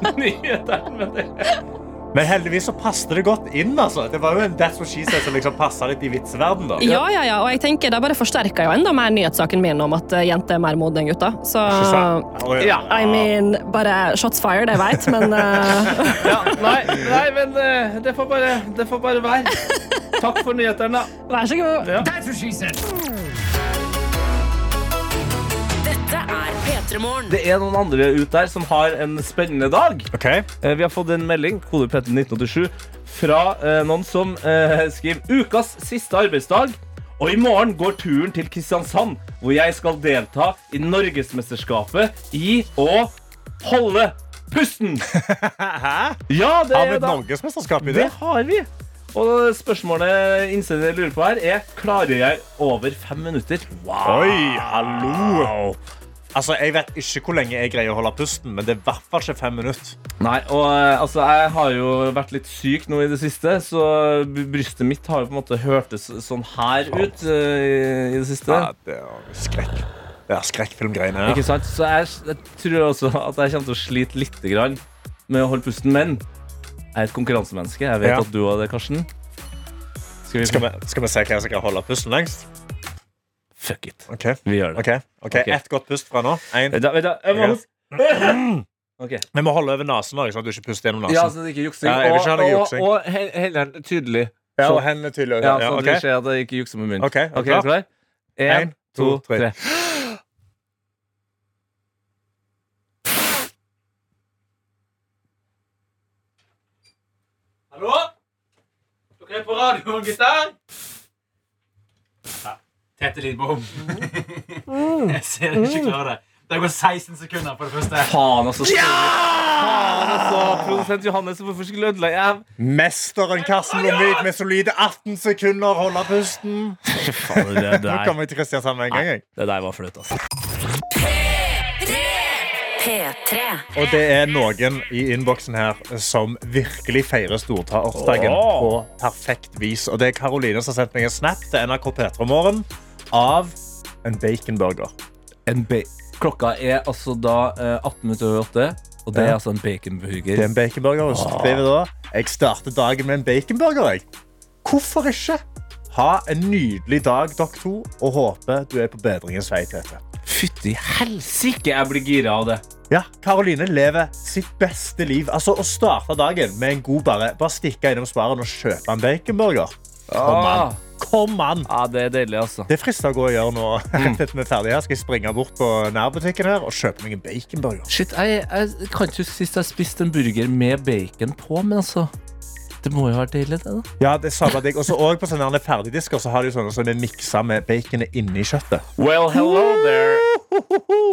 Speaker 3: Men heldigvis så passet det godt inn. altså. Det var jo en That's What She Said som liksom passet litt i vitseverden. da.
Speaker 12: Ja, ja, ja, og jeg tenker det bare forsterker jo enda mer nyhetssaken min om at eh, jenter er mer modne enn gutter. Så
Speaker 3: Ikke sant? Å, ja.
Speaker 12: I mean, bare shots fired, jeg veit, men eh,
Speaker 2: Nei, nei men eh, det får bare, det får bare være. Takk for nyhetene.
Speaker 12: Vær så god.
Speaker 2: Ja.
Speaker 1: Dette er P3 Morgen.
Speaker 2: Det er noen andre ut der som har en spennende dag. Eh, Vi har fått en melding kode P3 1987, fra eh, noen som eh, skriver ukas siste arbeidsdag. Og i morgen går turen til Kristiansand, hvor jeg skal delta i Norgesmesterskapet i å holde pusten.
Speaker 3: Hæ?
Speaker 2: Ja, det
Speaker 3: Har
Speaker 2: er
Speaker 3: vi et
Speaker 2: da-
Speaker 3: norgesmesterskap i det?
Speaker 2: Det har vi. Og spørsmålet innsender lurer på her, er klarer jeg over fem minutter.
Speaker 3: Oi,
Speaker 2: Ah.
Speaker 3: hallo! Altså, Jeg vet ikke hvor lenge jeg greier å holde pusten, men det er i hvert fall ikke fem minutter.
Speaker 2: Nei, og eh, altså, jeg har jo vært litt syk nå i det siste, så b- brystet mitt har jo på en måte hørtes sånn her ut eh, i det siste.
Speaker 3: Ja, det er skrekk. Det er skrekkfilmgreiene her.
Speaker 2: Ikke sant? Så jeg, jeg tror også at jeg kommer til å slite litt grann med å holde pusten, men jeg er et konkurransemenneske. Jeg vet
Speaker 3: Ja.
Speaker 2: at du og det, Karsten. Skal vi,
Speaker 3: Skal vi, skal vi se hvem som kan holde pusten lengst?
Speaker 2: Fuck it.
Speaker 3: Ok.
Speaker 2: Vi gjør det.
Speaker 3: Ok, ok.
Speaker 2: Ok. Eh,
Speaker 3: Ett godt pust fra nå. En.
Speaker 2: Da, da, jeg må- Ok.
Speaker 3: Vi må holde over nesen, også, sånn at du ikke puster gjennom nesen.
Speaker 2: Ja, så det ikke er juksing.
Speaker 3: Ja, jeg vil ikke ha noe
Speaker 2: Og-
Speaker 3: juksing.
Speaker 2: Og, og he- hendene tydelig.
Speaker 3: Ja,
Speaker 2: Så-
Speaker 3: og hendene tydelig.
Speaker 2: Ja,
Speaker 3: Ja,
Speaker 2: sånn at
Speaker 3: ok.
Speaker 2: det skjer at jeg ikke jukser med munnen.
Speaker 3: Ok, er du
Speaker 2: ok, er du
Speaker 3: klar?
Speaker 2: klar? En,
Speaker 3: En,
Speaker 2: to,
Speaker 3: to, tre.
Speaker 2: tre.
Speaker 13: Hallo? Dere er på radioen, gutter?
Speaker 2: Mm.
Speaker 13: Ja, Tete Lidbom. Jeg ser dere ikke klarer det. Det går 16 sekunder på det første.
Speaker 2: Faen, altså. Ja! Faen, altså. Produsent Johannes, hvorfor skulle du ødelegge jeg-
Speaker 3: Mesteren Karsten Blomvik med solide 18 sekunder. Holde pusten.
Speaker 2: Faen, det der-
Speaker 3: Nå kommer jeg til Kristiansand med en gang. Jeg.
Speaker 2: Det der var flaut, altså.
Speaker 5: P3.
Speaker 3: Og det er noen i innboksen her som virkelig feirer stordagen på
Speaker 2: Åh.
Speaker 3: perfekt vis. Og det er Karoline som har sendt meg en snap til NRK P3 Morgen av en baconburger.
Speaker 2: En ba Klokka er altså da eh, 18 minutter over 8, og det er
Speaker 3: Ja.
Speaker 2: altså en baconburger.
Speaker 3: Det er en baconburger. Og så
Speaker 2: Åh.
Speaker 3: skriver jeg da jeg starter dagen med en baconburger. Jeg. Hvorfor ikke? Ha en nydelig dag, dere to, og håper du er på bedringens vei. Tete.
Speaker 2: Fytti helsike, jeg blir gira av det.
Speaker 3: Ja, Karoline lever sitt beste liv. Altså, Å starte dagen med en god bare Bare stikke innom Sparen og kjøpe en baconburger. Kom
Speaker 2: Ah.
Speaker 3: an. Kom an.
Speaker 2: Ja, det er deilig, altså.
Speaker 3: Det er fristende å gå og gjøre nå. Rett etter vi er ferdige her, skal jeg springe bort på nærbutikken her og kjøpe meg en baconburger.
Speaker 2: Shit, jeg, jeg kan ikke huske sist jeg spiste en burger med bacon på, men altså Det må jo være deilig, det, da.
Speaker 3: Ja, det er sabla digg. Og så også på sånne her ferdigdisker så har de jo sånne som er miksa med baconet inni kjøttet.
Speaker 2: Well, hello there.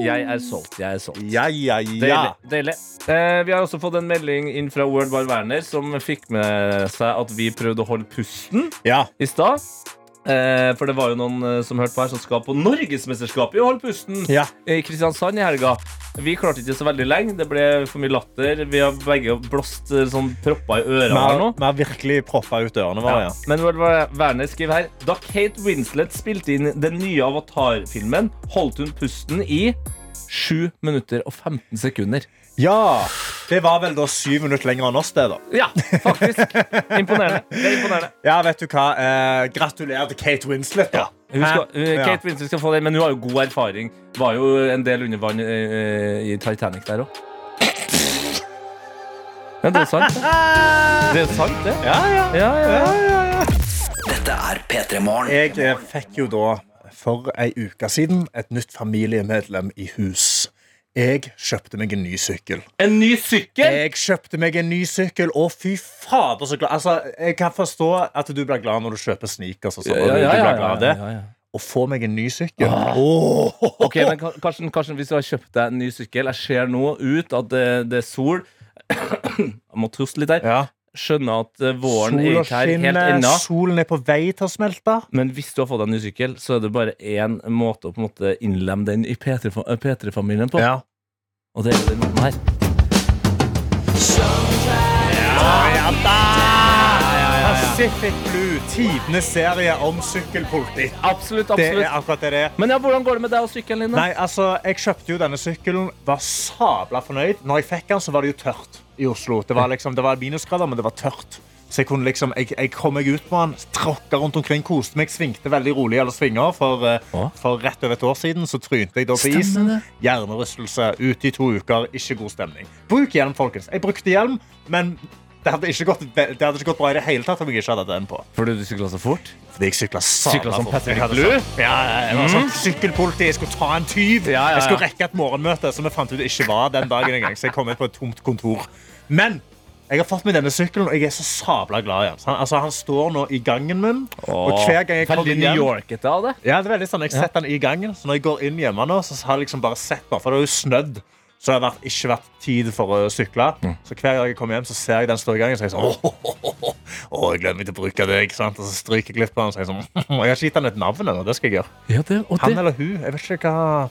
Speaker 2: Jeg er solgt. Jeg er solgt.
Speaker 3: Ja, ja, ja.
Speaker 2: Deilig. deilig. Eh, vi har også fått en melding inn fra World Bar Werner, som fikk med seg at vi prøvde å holde pusten i stad. Eh, for det var jo noen eh, som hørte på her som skal på Norgesmesterskapet i å holde pusten
Speaker 3: Ja.
Speaker 2: i Kristiansand i helga. Vi klarte ikke så veldig lenge. Det ble for mye latter. Vi har begge blåst eh, sånn propper i
Speaker 3: Vi
Speaker 2: ørene her
Speaker 3: har,
Speaker 2: nå.
Speaker 3: vi har virkelig proppa ut ørene våre.
Speaker 2: Ja.
Speaker 3: Ja.
Speaker 2: Men World War Werner skriver her Da Kate Winslet spilte inn den nye Avatar-filmen, holdt hun pusten i 7 minutter og 15 sekunder.
Speaker 3: ja. Det var vel da syv minutter lenger enn oss, det, da.
Speaker 2: Ja, faktisk. Imponerende. Det er imponerende.
Speaker 3: Ja, vet du hva. Eh, gratulerer til Kate Winslet, da.
Speaker 2: Hun skal,
Speaker 3: Hæ?
Speaker 2: eh,
Speaker 3: Ja.
Speaker 2: Kate Winslet skal få det, men hun har jo god erfaring. Var jo en del under vann eh, i Titanic der òg. Men det er sant. Det er sant, det.
Speaker 3: Ja, ja.
Speaker 2: ja, ja.
Speaker 5: Dette er P3 Morgen.
Speaker 3: Jeg eh, fikk jo da for ei uke siden et nytt familiemedlem i hus. Jeg kjøpte meg en ny sykkel.
Speaker 2: En ny sykkel?
Speaker 3: Jeg kjøpte meg en ny sykkel, og fy fader så glad Altså, Jeg kan forstå at du blir glad når du kjøper sneakers og sånn. og
Speaker 2: Ja,
Speaker 3: du-
Speaker 2: ja,
Speaker 3: du
Speaker 2: ja,
Speaker 3: blir glad av
Speaker 2: ja,
Speaker 3: det.
Speaker 2: ja, ja.
Speaker 3: Å få meg en ny sykkel Åh.
Speaker 2: Ok, men Kar- Karsten, Karsten, hvis du har kjøpt deg en ny sykkel Jeg ser nå ut at det, det er sol Jeg må troste litt her Skjønner at eh, våren er
Speaker 3: Sola
Speaker 2: ikke her helt
Speaker 3: skinner,
Speaker 2: ennå
Speaker 3: solen er på vei til å smelte.
Speaker 2: Men hvis du har fått deg en ny sykkel Så er det bare en måte å på en måte innlemme den I P3 fa- eh, P3-familien på Og det er den måten her
Speaker 3: Ja da! Pacific Blue, tidenes serie om sykkelpoliti.
Speaker 2: Absolutt,
Speaker 3: Det
Speaker 2: absolutt
Speaker 3: er akkurat det det er.
Speaker 2: Men ja, hvordan går det med deg og sykkelen din da?
Speaker 3: Nei, altså, Jeg kjøpte jo denne sykkelen, var sabla fornøyd. Når jeg fikk den, så var det jo tørt i Oslo. Det var, liksom, det var minusgrader, men det var tørt. Så jeg, kunne liksom, jeg, jeg kom meg ut på den, tråkka rundt omkring, koste meg, svingte veldig rolig i alle svinger. For, eh, for rett over et år siden så trynte jeg da på
Speaker 2: Stemmer
Speaker 3: isen.
Speaker 2: det.
Speaker 3: Hjernerystelse ute i to uker, ikke god stemning. Bruk hjelm, folkens. Jeg brukte hjelm, men det hadde ikke gått, det hadde ikke gått bra i det hele tatt om jeg ikke hadde hatt den på.
Speaker 2: Fordi du syklet så fort?
Speaker 3: Fordi jeg syklet
Speaker 2: Syklet som Patrick Blue?
Speaker 3: Blue? Ja, ja, jeg var sånn sykkelpoliti. Jeg skulle ta en tyv.
Speaker 2: Mm. ja, ja.
Speaker 3: Jeg skulle rekke et morgenmøte som vi fant ut ikke var den dagen engang. Så jeg kom ut på et tomt kontor. Men jeg har fått meg denne sykkelen, og jeg er så sabla glad i den. Så Han, altså, han står nå i gangen min, og hver gang jeg kommer
Speaker 2: Veldig
Speaker 3: inn
Speaker 2: New
Speaker 3: hjem
Speaker 2: York-ete av det
Speaker 3: ja, det er veldig sånn, Jeg setter den i gangen, så når jeg går inn hjemme nå, så har jeg liksom bare sett den. For det har jo snødd, så det har vært, ikke vært tid for å sykle.
Speaker 2: Mm.
Speaker 3: Så hver gang jeg kommer hjem, så ser jeg den står i gangen, så er jeg sånn Åh, åh, åh, åh, åh, jeg gleder meg til å bruke det, ikke sant? Og så stryker jeg litt på den, så er jeg sånn «Hm, Jeg har ikke gitt den et navn ennå, det skal jeg gjøre.
Speaker 2: Ja, det, og
Speaker 3: Han eller hun, jeg vet ikke hva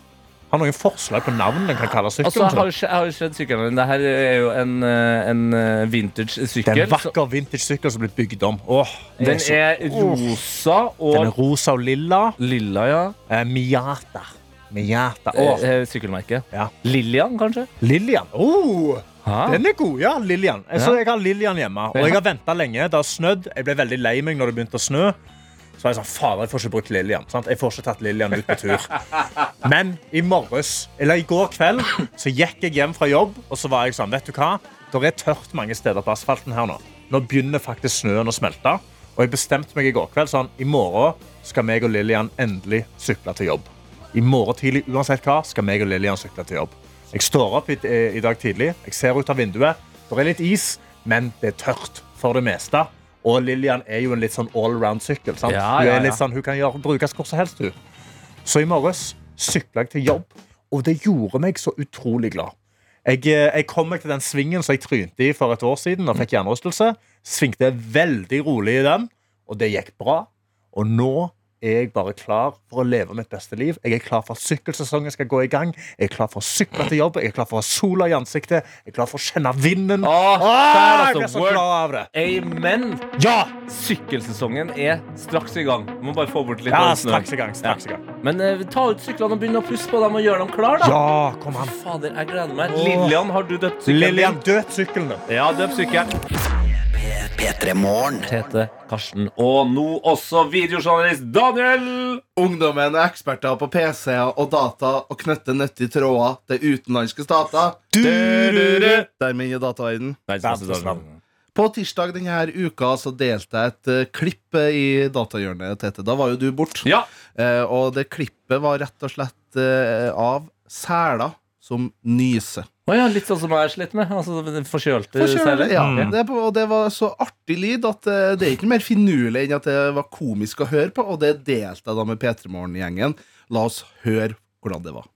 Speaker 3: Har noen forslag på navn den kan kalle
Speaker 2: Altså, jeg har
Speaker 3: sykkelen
Speaker 2: jo skjø- jeg har jo skjønt sykkelen din. Dette er jo en, eh, en eh, vintage
Speaker 3: Det er
Speaker 2: sykkel.
Speaker 3: en vakker vintage-sykkel som er blitt bygd om. Åh, jeg
Speaker 2: Den
Speaker 3: så-
Speaker 2: er
Speaker 3: Åh.
Speaker 2: rosa og
Speaker 3: Den er rosa og lilla.
Speaker 2: Lilla, ja.
Speaker 3: Eh, Miata. Miata. Åh.
Speaker 2: Eh, eh, Sykkelmerke.
Speaker 3: Ja.
Speaker 2: Lillian, kanskje?
Speaker 3: Lillian. Oh,
Speaker 2: Hæ?
Speaker 3: den er god, ja. Lillian. Altså,
Speaker 2: Ja.
Speaker 3: Jeg har Lillian hjemme. Og
Speaker 2: Ja.
Speaker 3: jeg har venta lenge. Det har snødd. Jeg ble veldig lei meg når det begynte å snø. Så var jeg sånn, fader, jeg får ikke brukt Lillian. Sant? Jeg får ikke tatt Lillian ut på tur. Men i morges, eller i går kveld, så gikk jeg hjem fra jobb, og så var jeg sånn, vet du hva? Det er tørt mange steder på asfalten her nå. Nå begynner faktisk snøen å smelte. Og jeg bestemte meg i går kveld sånn, i morgen skal meg og Lillian endelig sykle til jobb. I morgen tidlig, uansett hva, skal meg og Lillian sykle til jobb. Jeg står opp i, eh, i dag tidlig, jeg ser ut av vinduet. Det er litt is, men det er tørt for det meste. Og Lillian er jo en litt sånn allround-sykkel. sant?
Speaker 2: Ja,
Speaker 3: Hun
Speaker 2: ja, ja.
Speaker 3: er litt sånn, hun kan gjøre, brukes hvor som helst, hun. Så i morges sykla jeg til jobb. og det gjorde meg så utrolig glad. Jeg, eh, jeg kom meg til den svingen som jeg trynte i for et år siden og fikk hjernerystelse. Svingte veldig rolig i den, og det gikk bra. Og nå er jeg bare klar for å leve mitt beste liv. Jeg er klar for at sykkelsesongen skal gå i gang. Jeg er klar for å sykle til jobb. Jeg er klar for å ha sola i ansiktet. Jeg er klar for å kjenne vinden.
Speaker 2: Der,
Speaker 3: Åh,
Speaker 2: altså,
Speaker 3: jeg blir så
Speaker 2: word.
Speaker 3: glad av det.
Speaker 2: Amen.
Speaker 3: Ja!
Speaker 2: Sykkelsesongen er straks i gang. Må bare få bort litt
Speaker 3: Ja, altså,
Speaker 2: av snøen.
Speaker 3: straks i gang, straks i gang.
Speaker 2: Men eh, ta ut syklene og begynn å pusse på dem og gjøre dem klar, da.
Speaker 3: Ja, kom an.
Speaker 2: Fader, jeg gleder meg.
Speaker 3: Åh.
Speaker 2: Lillian, har du døpt sykkelen?
Speaker 3: Lillian, døp sykkelen din.
Speaker 2: Ja, døp sykkelen. Tete, Karsten og nå også videojournalist Daniel.
Speaker 14: Ungdommen er eksperter på PC-er og data og knytter nyttige tråder til utenlandske stater. Dermed inn i dataverden. På tirsdag denne uka så delte jeg et eh, klipp eh, i datahjørnet, Tete. Da var jo du bort. Eh, og det klippet var rett og slett eh, av seler som nyser.
Speaker 2: Å ja, litt sånn som jeg sliter med. Altså, den forkjølte
Speaker 14: Forkjølet,
Speaker 2: seiler.
Speaker 14: ja.
Speaker 3: Mm.
Speaker 14: Det, er på- og det var så artig lyd at eh, det er ikke mer finurlig enn at det var komisk å høre på, og det delte jeg da med P3 Morgen-gjengen. La oss høre hvordan det var.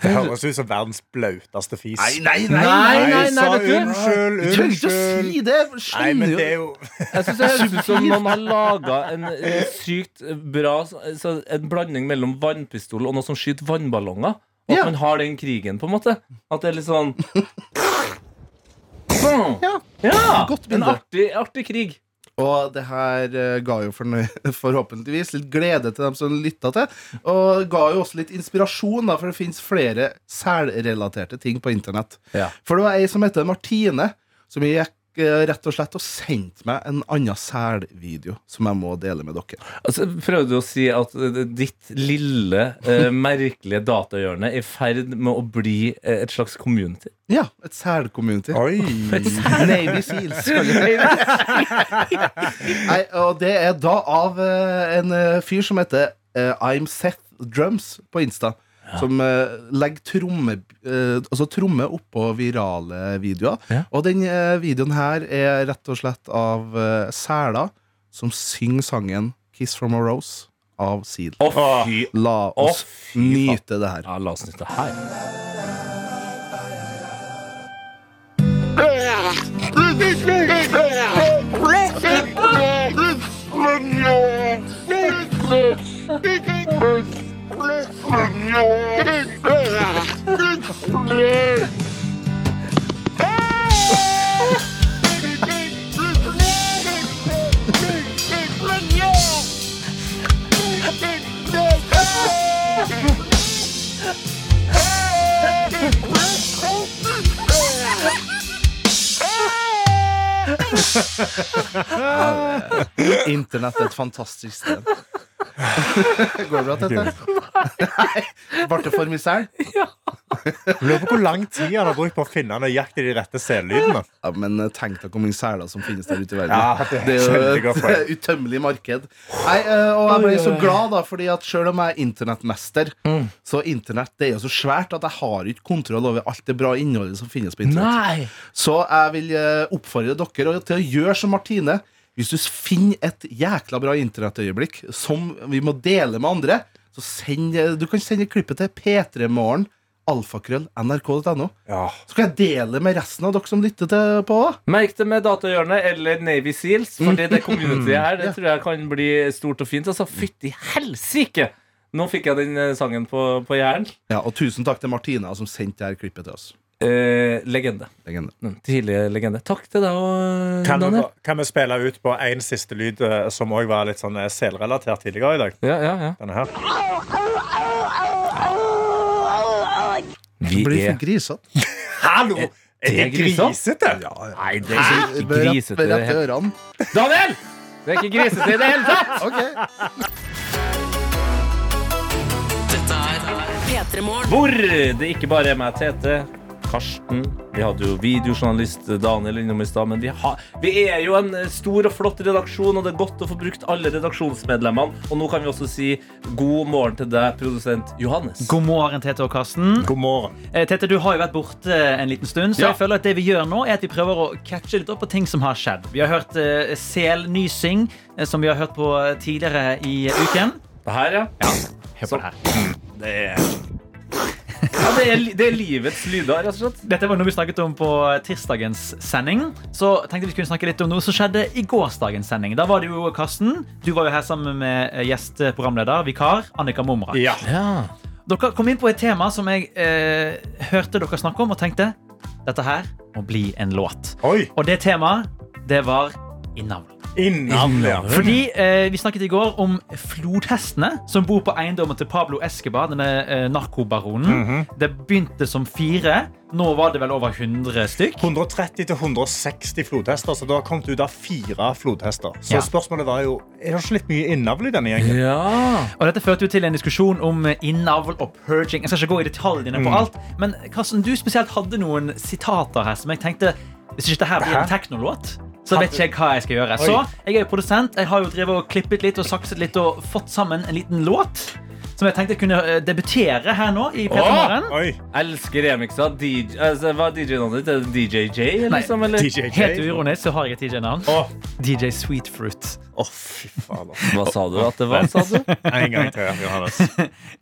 Speaker 3: Det høres ut som verdens blauteste fis.
Speaker 14: Nei, nei, nei, nei, nei,
Speaker 3: sa
Speaker 14: vet du.
Speaker 3: unnskyld,
Speaker 14: Du trenger ikke å
Speaker 3: unnskyld.
Speaker 14: si det.
Speaker 3: Nei, men det er jo
Speaker 2: Jeg synes det høres ut som noen har laga en eh, sykt bra så, En blanding mellom vannpistol og noe som skyter vannballonger. Og at man har den krigen, på en måte. At det er litt sånn Ja.
Speaker 14: Godt
Speaker 2: en
Speaker 14: bilde.
Speaker 2: artig, artig krig.
Speaker 14: Og det her eh, ga jo fornøy- forhåpentligvis litt glede til dem som lytta til, og ga jo også litt inspirasjon, da, for det fins flere selrelaterte ting på internett.
Speaker 2: Ja.
Speaker 14: For det var ei som heter Martine, som gikk eh, rett og slett og sendte meg en annen selvideo som jeg må dele med dere.
Speaker 2: Altså, prøvde du å si at eh, ditt lille, eh, merkelige datahjørne er i ferd med å bli eh, et slags community?
Speaker 14: Ja, et selcommunity. Navy Seals. skal vi si. Nei, og det er da av eh, en eh, fyr som heter eh, I'm Seth Drums på Insta. Som eh, legger tromme, eh, altså tromme oppå virale videoer. Og den eh, videoen her er rett og slett av eh, seler som synger sangen 'Kiss from a Rose' av Seal.
Speaker 2: Å, fy-
Speaker 14: La oss
Speaker 2: Å,
Speaker 14: nyte det her.
Speaker 2: Ja, la oss nyte det her.
Speaker 14: Internett er et fantastisk sted. Går det bra, Tete? Nei. Ble det for mye sel?
Speaker 3: Lurer på hvor lang tid han har brukt på å finne nøyaktig de rette sellydene.
Speaker 14: Ja, men eh, tenk deg hvor mange seler som finnes der ute i verden.
Speaker 3: Ja, det er veldig
Speaker 14: jo
Speaker 3: godt poeng.
Speaker 14: et utømmelig marked. Nei, eh, og jeg ble så glad, da, fordi at selv om jeg er internettmester,
Speaker 3: Mm.
Speaker 14: så internett det er jo så svært at jeg har ikke kontroll over alt det bra innholdet som finnes på internett.
Speaker 2: Nei.
Speaker 14: Så jeg vil eh, oppfordre dere til å gjøre som Martine. Hvis du finner et jækla bra internettøyeblikk som vi må dele med andre, så send, eh, du kan sende klippet til p3morgen. Alfakrøll, nrk.no. Så skal jeg dele med resten av dere som lytter til på.
Speaker 2: Merk det med datahjørnet eller Navy Seals, Fordi det communityet her Det tror jeg kan bli stort og fint. Altså, fytti helsike! Nå fikk jeg den eh, sangen på, på hjernen.
Speaker 14: Ja, og tusen takk til Martina som sendte det her klippet til oss.
Speaker 2: Eh, legende.
Speaker 14: legende.
Speaker 2: Tidlig legende. Takk til deg og eh,
Speaker 3: Kan vi,
Speaker 2: Daniel.
Speaker 3: kan vi spille ut på en siste lyd eh, som òg var litt sånn eh, selrelatert tidligere i dag? Denne her.
Speaker 2: Vi
Speaker 14: blir
Speaker 3: er-
Speaker 14: for grisete.
Speaker 3: Hallo! Er Eh, det grisete?
Speaker 2: Nei, det
Speaker 3: Hæ?
Speaker 2: er ikke grisete. i det hele- Daniel! Det er ikke grisete i det hele tatt! Hvor det ikke bare er meg, Tete, Karsten. Vi hadde jo videojournalist eh, Daniel innom i stad. Men vi, har, vi er jo en eh, stor og flott redaksjon, og det er godt å få brukt alle redaksjonsmedlemmene. Og nå kan vi også si god morgen til deg, produsent Johannes.
Speaker 9: God morgen, Tete og Karsten.
Speaker 3: God morgen.
Speaker 9: Eh, Tete, du har jo vært borte eh, en liten stund, så
Speaker 2: Ja.
Speaker 9: jeg føler at det vi gjør nå, er at vi prøver å catche litt opp på ting som har skjedd. Vi har hørt eh, selnysing, eh, som vi har hørt på tidligere i eh, uken.
Speaker 2: Det her, ja.
Speaker 9: Hør på det her.
Speaker 2: Det er, ja, det er, li- det er livets lyder, rett og slett.
Speaker 9: Dette var noe vi snakket om på eh, tirsdagens sending. Så tenkte vi skulle snakke litt om noe som skjedde i gårsdagens sending. Da var det jo Karsten. Du var jo her sammen med eh, gjesteprogramleder, vikar Annika Momrak.
Speaker 3: Ja.
Speaker 9: Dere kom inn på et tema som jeg eh, hørte dere snakke om og tenkte dette her må bli en låt. Og det temaet, det var innavl.
Speaker 3: Innavl, ja.
Speaker 9: Fordi eh, vi snakket i går om flodhestene som bor på eiendommen til Pablo Escobar, denne eh, narkobaronen. Det begynte som fire. Nå var det vel over 100 stykk.
Speaker 3: 130-160 flodhester, så det har kommet ut av fire flodhester. Så
Speaker 9: Ja. Eh,
Speaker 3: spørsmålet var jo Er det ikke litt mye innavl i denne gjengen?
Speaker 9: Og dette førte jo til en diskusjon om eh, innavl og purging. Jeg skal ikke gå i detaljene på
Speaker 3: Mm.
Speaker 9: alt, men Karsten, du spesielt hadde noen sitater her som jeg tenkte Hvis ikke dette her blir
Speaker 3: Hæ?
Speaker 9: en teknolåt, så vet ikke jeg hva jeg skal gjøre.
Speaker 3: Oi.
Speaker 9: Så jeg er jo produsent. Jeg har jo drevet og klippet litt og sakset litt og fått sammen en liten låt. Som jeg tenkte jeg kunne eh, debutere her nå. i Peter Morgen.
Speaker 2: Elsker remiksa. DJ, altså, hva er DJ-navnet ditt? Er det DJJ,
Speaker 9: Nei,
Speaker 2: liksom? Eller?
Speaker 9: Helt uironisk så har jeg et DJ-navn. DJ Sweetfruit.
Speaker 3: Å, fy faen.
Speaker 2: Hva sa du at det var, sa du?
Speaker 3: En gang til, Johannes.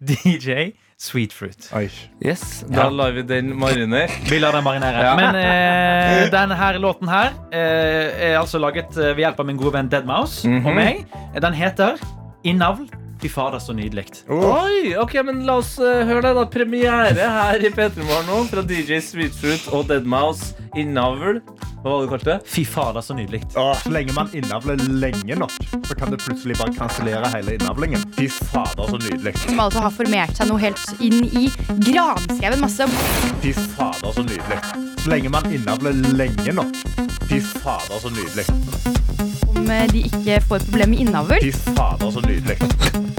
Speaker 9: DJ Sweetfruit.
Speaker 2: Yes, da lar vi den marinere.
Speaker 9: Vi lar den marinere. Men eh, denne her låten her eh, er altså laget eh, ved hjelp av min gode venn Deadmouse
Speaker 2: Mhm.
Speaker 9: og meg. Den heter Innavl. Fy fader, så nydelig.
Speaker 2: Oh. Oi, ok, men La oss eh, høre det. da Premiere her i P3 Morgen nå fra DJ Sweetfruit og Deadmouse. Innavl. Hva var det du kalte det?
Speaker 9: Fy fader, så nydelig.
Speaker 3: Så lenge man innavler lenge nok, så kan det plutselig bare kansellere hele innavlingen. Fy fader, så nydelig.
Speaker 15: Som altså har formert seg noe helt inn i granskauen. Masse
Speaker 3: Fy fader, så nydelig. Så lenge man innavler lenge nok. Fy fader, så nydelig.
Speaker 15: om eh, de ikke får problemer med innavl.
Speaker 3: Fy fader, så nydelig.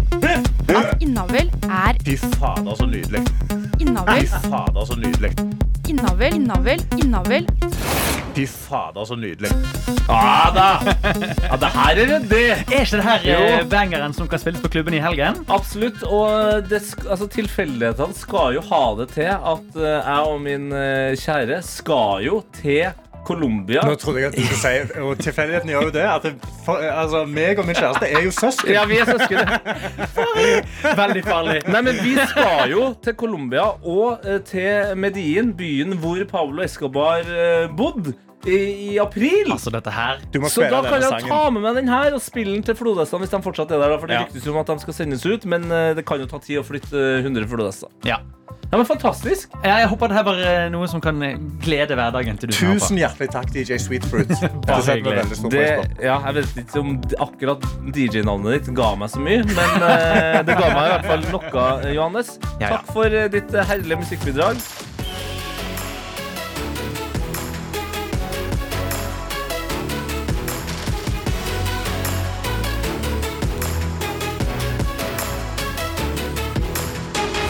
Speaker 15: At innavl er
Speaker 3: Fy fader, så nydelig. Fy
Speaker 15: innavl.
Speaker 3: fader, så nydelig.
Speaker 15: Innavl, innavl, innavl.
Speaker 3: Fy fader, så nydelig.
Speaker 2: Ja Ah, da! Ja, det her er ryddig.
Speaker 9: Er ikke det her eh,
Speaker 2: Jo.
Speaker 9: bangeren som kan spilles på klubben i helgen?
Speaker 2: Absolutt. Og det sk altså, tilfeldighetene skal jo ha det til at eh, jeg og min eh, kjære skal jo til Colombia.
Speaker 3: Nå trodde jeg at du skulle si Og tilfeldigheten gjør jo det. At det, for, altså, meg og min kjæreste er jo søsken.
Speaker 2: Ja, vi er søsken.
Speaker 9: Veldig farlig.
Speaker 2: Nei, men Vi skal jo til Colombia og eh, til Medellin, byen hvor Pablo Escobar eh, bodde. I, I april!
Speaker 9: Altså, dette her
Speaker 3: Du må
Speaker 2: Så
Speaker 3: spille
Speaker 2: da kan
Speaker 3: denne
Speaker 2: jeg
Speaker 3: sangen.
Speaker 2: ta med meg den her og spille den til flodhestene. Hvis de fortsatt er der, da, for det
Speaker 3: Ja.
Speaker 2: ryktes jo om at de skal sendes ut. Men eh, det kan jo ta tid å flytte eh, 100 flodhester.
Speaker 9: Ja.
Speaker 2: Ja, men Fantastisk.
Speaker 9: Jeg, jeg håper det her var eh, noe som kan eh, glede hverdagen til du som hører på.
Speaker 3: Tusen hjertelig takk, DJ Sweetfruit. Det setter vi veldig stor
Speaker 2: Det,
Speaker 3: pris på.
Speaker 2: ja, jeg vet ikke om d- akkurat DJ-navnet ditt ga meg så mye, men eh, det ga meg i hvert fall noe, eh, Johannes.
Speaker 9: Ja, ja.
Speaker 2: Takk for eh, ditt eh, herlige musikkbidrag.
Speaker 16: P3 Morgen.